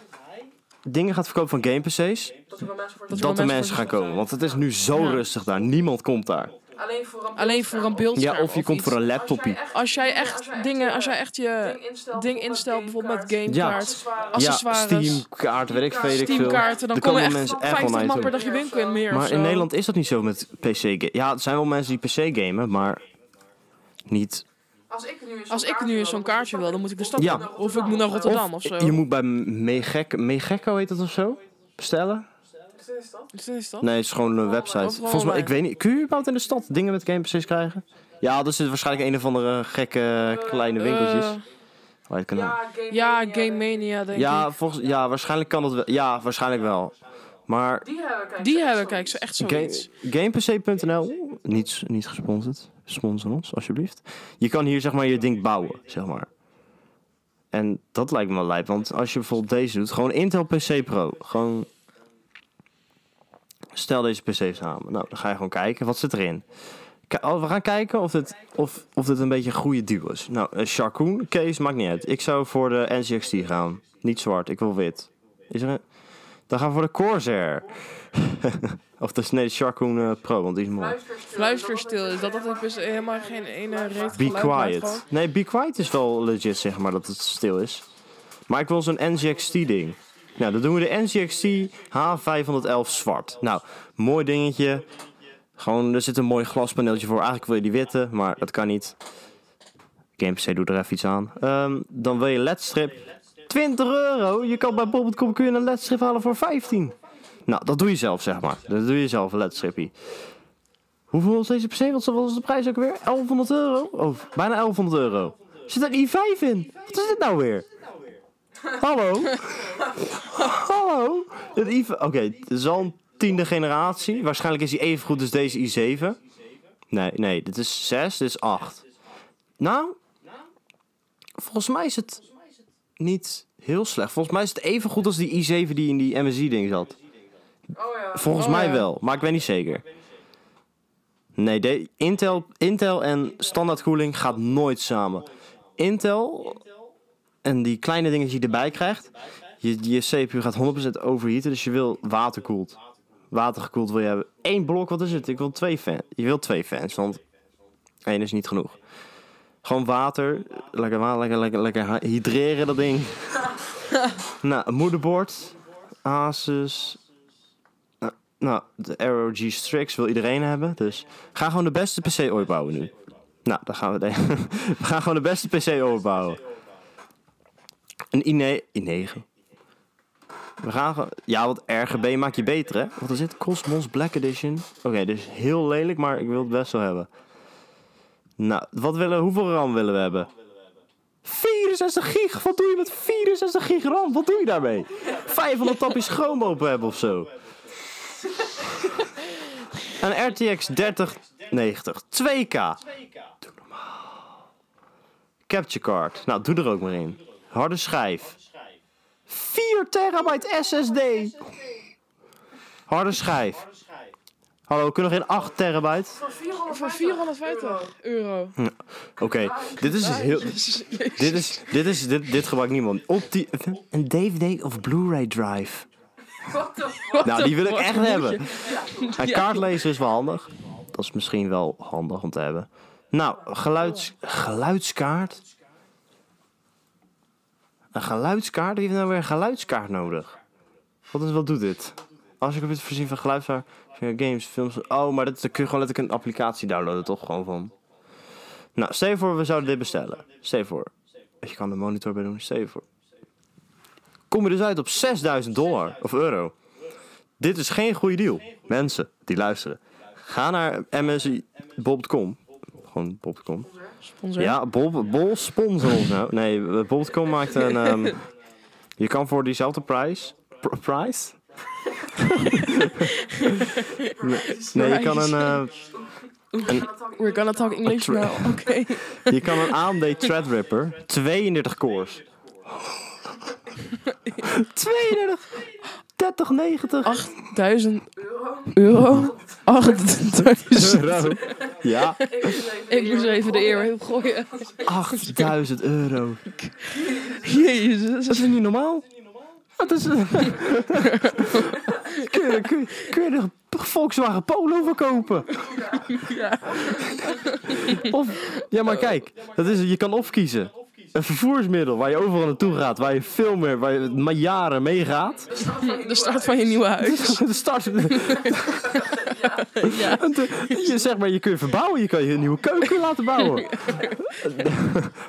Speaker 1: dingen gaat verkopen van game-PC's,
Speaker 3: Dat er wel mensen voor
Speaker 2: Dat
Speaker 3: zijn.
Speaker 1: dat er mensen gaan komen. Want het is nu zo
Speaker 2: Ja.
Speaker 1: rustig daar. Niemand komt daar.
Speaker 3: Alleen voor een
Speaker 2: Alleen voor een beeldscherm
Speaker 1: Ja, of je komt
Speaker 2: iets.
Speaker 1: voor een
Speaker 3: Als jij
Speaker 1: laptopje.
Speaker 3: echt-
Speaker 2: Als jij echt
Speaker 3: nee,
Speaker 2: dingen,
Speaker 3: eh,
Speaker 2: als jij echt je
Speaker 3: instelt,
Speaker 2: ding instelt, bijvoorbeeld met
Speaker 3: gamecard,
Speaker 2: gamecard,
Speaker 3: accessoires,
Speaker 2: Als-
Speaker 1: Ja,
Speaker 2: accessoires.
Speaker 1: Steam-kaart, weet ik veel. weet ik veel.
Speaker 2: Steamkaarten, dan
Speaker 1: Er
Speaker 2: komen
Speaker 1: komen
Speaker 2: echt
Speaker 1: mensen echt wel
Speaker 2: 50
Speaker 1: naar je
Speaker 2: man
Speaker 1: toe.
Speaker 2: per dag je winkel in meer. of
Speaker 1: Maar
Speaker 2: zo.
Speaker 1: in Nederland is dat niet zo met pc gamen. Ja, er zijn wel mensen die PC gamen, maar niet.
Speaker 3: Als ik nu eens
Speaker 2: Als
Speaker 3: zo'n
Speaker 2: ik nu
Speaker 3: kaartje
Speaker 2: eens zo'n kaartje wil, dan moet ik dus de stad
Speaker 1: Ja.
Speaker 2: in. Of ik moet naar Rotterdam of zo.
Speaker 1: Je moet bij Megek, Megekko heet dat of zo? Bestellen?
Speaker 3: Is dit is dat?
Speaker 2: Wat is dat?
Speaker 1: Nee, het is gewoon een website.
Speaker 2: online.
Speaker 1: Volgens mij, ik weet niet. Kun je überhaupt in de stad dingen met game PC's krijgen? Ja, dat is waarschijnlijk een of andere gekke kleine winkeltjes.
Speaker 2: Eh,
Speaker 1: waar je het kan halen.
Speaker 3: Game
Speaker 2: ja,
Speaker 3: Mania,
Speaker 2: Game
Speaker 3: denk ik.
Speaker 2: Mania, denk
Speaker 1: ja,
Speaker 2: ik.
Speaker 1: volgens, ja, waarschijnlijk kan dat wel. Ja, waarschijnlijk wel. Maar
Speaker 3: Die hebben kijk.
Speaker 2: Die
Speaker 3: zo-
Speaker 2: hebben,
Speaker 3: zo-
Speaker 2: kijk, zo echt
Speaker 1: Ga-
Speaker 2: zoiets.
Speaker 1: GamePC.nl, niet, niet gesponsord. Sponsor ons, alsjeblieft. Je kan hier zeg maar je ding bouwen, zeg maar. En dat lijkt me wel lijp, want als je bijvoorbeeld deze doet, gewoon Intel PC Pro. Gewoon. Stel deze PC samen. Nou, dan ga je gewoon kijken, wat zit erin? Ki- oh, we gaan kijken of dit, of, of dit een beetje een goede duo is. Nou, eh Sharkoon, Kees, maakt niet uit. Ik zou voor de NCXT gaan. Niet zwart, ik wil wit. Is er een... Dan gaan we voor de Corsair. Of dat is nee, de Sharkoon eh, Pro, want die is mooi.
Speaker 3: Fluisterstil.
Speaker 2: Fluisterstil is dat dat ook is helemaal geen ene reet
Speaker 1: Be
Speaker 2: geluid maakt gewoon.
Speaker 1: Quiet. Nee, Be Quiet is wel legit, zeg maar, dat het stil is. Maar ik wil zo'n NGXT-ding. Nou, dan doen we de NGXT H511 zwart. Nou, mooi dingetje. Gewoon, er zit een mooi glaspaneeltje voor. Eigenlijk wil je die witte, maar dat kan niet. GamePC doet er even iets aan. Ehm, dan wil je ledstrip. 20 euro! Je kan bij Bob.com kun je een ledstrip halen voor 15. Nou, dat doe je zelf, zeg maar. Dat doe je zelf, een ledstrippie. Hoeveel is deze PC? Wat was de prijs ook weer? 1100 euro? Oh, bijna 1100 euro. Zit er i5 in? Wat is dit nou weer? Hallo? Hallo? Het i5 Oké, het is al een tiende generatie. Waarschijnlijk is hij even goed als deze i7. Nee, nee, dit is 6, dit is 8. Nou, volgens mij is het niet heel slecht. Volgens mij is het even goed als die i7 die in die MSI-ding zat.
Speaker 3: Oh ja.
Speaker 1: Volgens
Speaker 2: Oh,
Speaker 1: mij
Speaker 2: ja.
Speaker 1: wel, maar ik weet niet zeker. Nee, de, Intel, Intel en standaard koeling gaat nooit samen. Intel en die kleine dingetjes die je erbij krijgt. Je, je CPU gaat 100% overheaten, dus je wil waterkoeld. Watergekoeld wil je hebben. Eén blok, wat is het? Ik wil twee fans. Je wil twee fans, want één is niet genoeg. Gewoon water. Lekker water, lekker, lekker, lekker hy- hydreren dat ding. nou, een moederbord. Asus. Nou, Nou, de Arrow G Strix wil iedereen hebben. Dus ga gewoon de beste PC ooit bouwen nu. Nou, daar gaan we. de- we gaan gewoon de beste PC ooit bouwen. Een i9. i9. We gaan gewoon... Ja, want RGB maakt je beter, hè? Wat is dit? Cosmos Black Edition. Oké, dit is heel lelijk, maar ik wil het best wel hebben. Nou, wat willen, hoeveel RAM willen we hebben? 64 gig! Wat doe je met 64 gig RAM? Wat doe je daarmee? 500 tapjes Chrome open hebben of zo. Een RTX 3090. 2K. Doe normaal. Capture card. Nou, doe er ook maar in. Harde schijf. 4 terabyte SSD. Harde schijf. Hallo, kunnen we geen 8 terabyte?
Speaker 3: Voor 450.
Speaker 2: Voor 450 euro.
Speaker 1: Oké, dit is heel... Dit is... Dit is... Dit, dit gebruikt niemand. Op die... Een DVD of Blu-ray drive.
Speaker 3: What the fuck?
Speaker 2: What
Speaker 1: Nou,
Speaker 2: the
Speaker 1: die wil ik
Speaker 2: fuck
Speaker 1: echt
Speaker 2: moet
Speaker 1: hebben. Een
Speaker 2: Ja.
Speaker 1: kaartlezer is wel handig. Dat is misschien wel handig om te hebben. Nou, geluids, geluidskaart. Een geluidskaart? Wie heeft nou weer een geluidskaart nodig? Wat, is, wat doet dit? Als ik op het voorzien van geluidskaart... via Games, films... Oh, maar dat, daar kun je gewoon letterlijk een applicatie downloaden, toch? Gewoon van... Nou, stel je voor, we zouden dit bestellen. Stel je voor. Je kan de monitor bij doen. Stel je voor. Kom je dus uit op 6000 dollar of euro. Dit is geen goede deal. Mensen die luisteren, ga naar msbob.com. Gewoon bob.com.
Speaker 2: Sponsor.
Speaker 1: Ja, Bob, Bol sponsor ons nou. Nee, eh, bob.com maakt een... ehm, je kan voor diezelfde prijs... pr- Prijs? Nee, je kan een, eh,
Speaker 2: We're gonna talk English
Speaker 1: Tra-
Speaker 2: now. Oké.
Speaker 1: je kan een AMD Threadripper 32 cores. 32! 3090!
Speaker 2: 8000
Speaker 3: Euro.
Speaker 2: euro. 8000
Speaker 1: euro. Ja,
Speaker 3: Ik moest even
Speaker 2: Ik moest even de eer heel gooien.
Speaker 1: 8000 euro.
Speaker 2: Jezus.
Speaker 1: Dat is niet normaal. Dat is. kun, je, kun, je- kun je er een Volkswagen Polo voor kopen?
Speaker 2: Ja.
Speaker 1: Of, ja, maar kijk, dat is, je kan of kiezen. Een vervoersmiddel waar je overal naartoe gaat, waar je veel meer, waar je maar jaren meegaat.
Speaker 2: De start van je nieuwe huis.
Speaker 1: De start.
Speaker 2: Ja.
Speaker 1: Want, eh, Je, zeg maar, je kunt verbouwen, je kan je nieuwe keuken laten bouwen.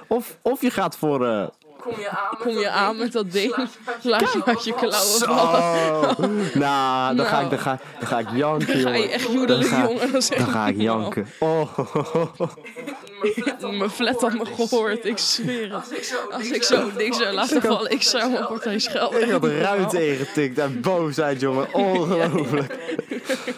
Speaker 1: Of, of je gaat voor. eh,
Speaker 3: Kom je aan met
Speaker 2: Kom je
Speaker 3: dat
Speaker 2: aan met
Speaker 3: ding?
Speaker 2: dat ding.
Speaker 3: Slaat je
Speaker 2: Laat je uit je
Speaker 3: klauwen.
Speaker 2: klauwen
Speaker 1: Zo!
Speaker 2: vallen.
Speaker 1: Nou, dan ga ik, dan ga, dan ga ik janken,
Speaker 2: Oh. Ga je
Speaker 1: jongen.
Speaker 2: echt
Speaker 1: Dan
Speaker 2: joedelen,
Speaker 1: ga-
Speaker 2: jongen. Dan
Speaker 1: Dan
Speaker 2: zeg
Speaker 1: ga ik
Speaker 2: ik wel.
Speaker 1: janken. Oh,
Speaker 3: Mijn flat had me
Speaker 2: Mijn flat had me
Speaker 3: gehoord.
Speaker 2: gehoord, ik zweer het.
Speaker 3: Als ik zo
Speaker 2: Als ik zo'n ding zou laten vallen, ik zou mijn partij schelden.
Speaker 1: ik had de ruit ingetikt en boosheid, jongen. Ongelooflijk.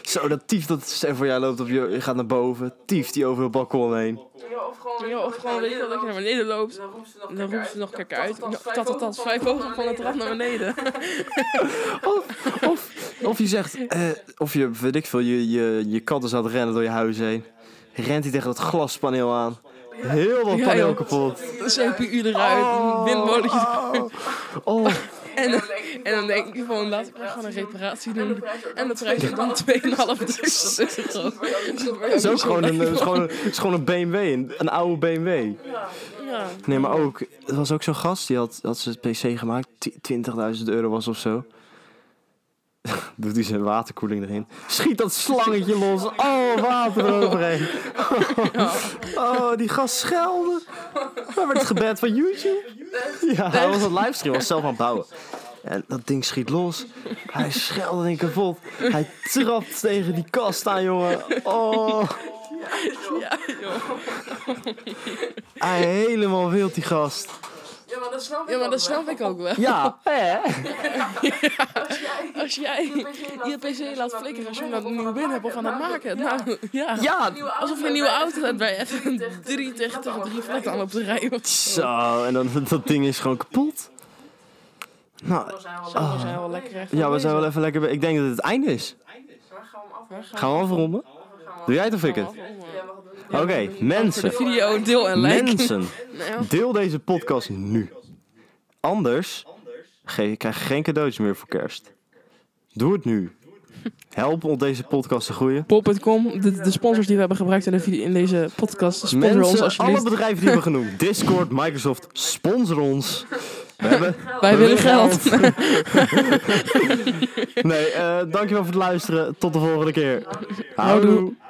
Speaker 1: Zo, dat tief dat stel voor jij loopt op je, je gaat naar boven. Tief die over het balkon heen.
Speaker 3: Ja, of gewoon,
Speaker 2: Ja, of gewoon weet je wel, dat je naar beneden loopt.
Speaker 3: dus Dan roept ze nog
Speaker 2: En dan roept ze nog
Speaker 3: kijk
Speaker 2: kijk uit. Dat dat dat vijf ogen van het rad naar beneden.
Speaker 1: Of, of, of je zegt, eh, of je, weet ik veel, je, je, je kat is aan het rennen door je huis heen. Rent hij tegen dat glaspaneel aan. Heel dat
Speaker 2: Ja,
Speaker 1: paneel
Speaker 2: joh.
Speaker 1: kapot.
Speaker 2: De CPU eruit, een windmolentje
Speaker 1: Oh. oh.
Speaker 2: En, en dan denk ik gewoon, laten we maar gewoon een reparatie
Speaker 3: En de
Speaker 2: doen.
Speaker 3: prijs ook
Speaker 2: En de
Speaker 3: nog.
Speaker 2: prijs is dan 2,5 dus dat is het gewoon.
Speaker 3: Word je ook niet zo blij.
Speaker 1: Het is ook gewoon een, eh, het is gewoon een, het is gewoon een BMW, een, een oude BMW.
Speaker 2: Ja.
Speaker 1: Nee, maar ook, er was ook zo'n gast, die had, had zijn PC gemaakt, Twi- 20.000 euro was of zo. Doet hij zijn waterkoeling erin. Schiet dat slangetje los. Oh, water eroverheen. Oh, die gast schelde. Waar werd het gebed van YouTube? Ja, hij was aan het livestream, was zelf aan het bouwen. En dat ding schiet los. Hij schelde en kapot. Hij trapt tegen die kast aan, jongen. Oh.
Speaker 2: Ja, joh.
Speaker 1: Hij helemaal wild, die gast.
Speaker 3: Ja, maar dat snap ik
Speaker 2: Ja, maar
Speaker 3: ook
Speaker 2: dat
Speaker 3: wel.
Speaker 2: snap ik ook wel.
Speaker 1: Ja, hè?
Speaker 3: Als jij
Speaker 2: Als jij je PC laat flikkeren als je hem nou nieuw binnen hebt of aan het maken. Nou, ja.
Speaker 1: Ja,
Speaker 2: Alsof je een nieuwe auto hebt bij even 330 of 3 flat aan op de rij. Wat
Speaker 1: Zo, en dan, dat ding is gewoon kapot. Nou,
Speaker 2: Zo, we zijn wel lekker echt.
Speaker 1: ja, we zijn wel even lekker... be- Ik denk dat het het einde is.
Speaker 3: Maar gaan we hem af.
Speaker 2: Waar gaan
Speaker 1: Gaan we afronden? Doe jij het of ik het?
Speaker 2: we om,
Speaker 3: Ja,
Speaker 2: eh?
Speaker 3: we gaan doen.
Speaker 1: Oké,
Speaker 2: Voor de
Speaker 1: mensen.
Speaker 2: video, deel en like.
Speaker 1: Mensen,
Speaker 2: Nou,
Speaker 1: deel deze podcast nu. Anders ge- je krijg je geen cadeautjes meer voor kerst. Doe het nu. Help ons deze podcast te groeien.
Speaker 2: Pop.com, de, de sponsors die we hebben gebruikt in, de video, in deze podcast, sponsor ons
Speaker 1: Mensen, alle
Speaker 2: alsjeblieft.
Speaker 1: bedrijven die we genoemd. Discord, Microsoft, sponsor ons. We hebben...
Speaker 2: Wij willen geld.
Speaker 1: nee, eh, dankjewel voor het luisteren. Tot de volgende keer. Houdoe.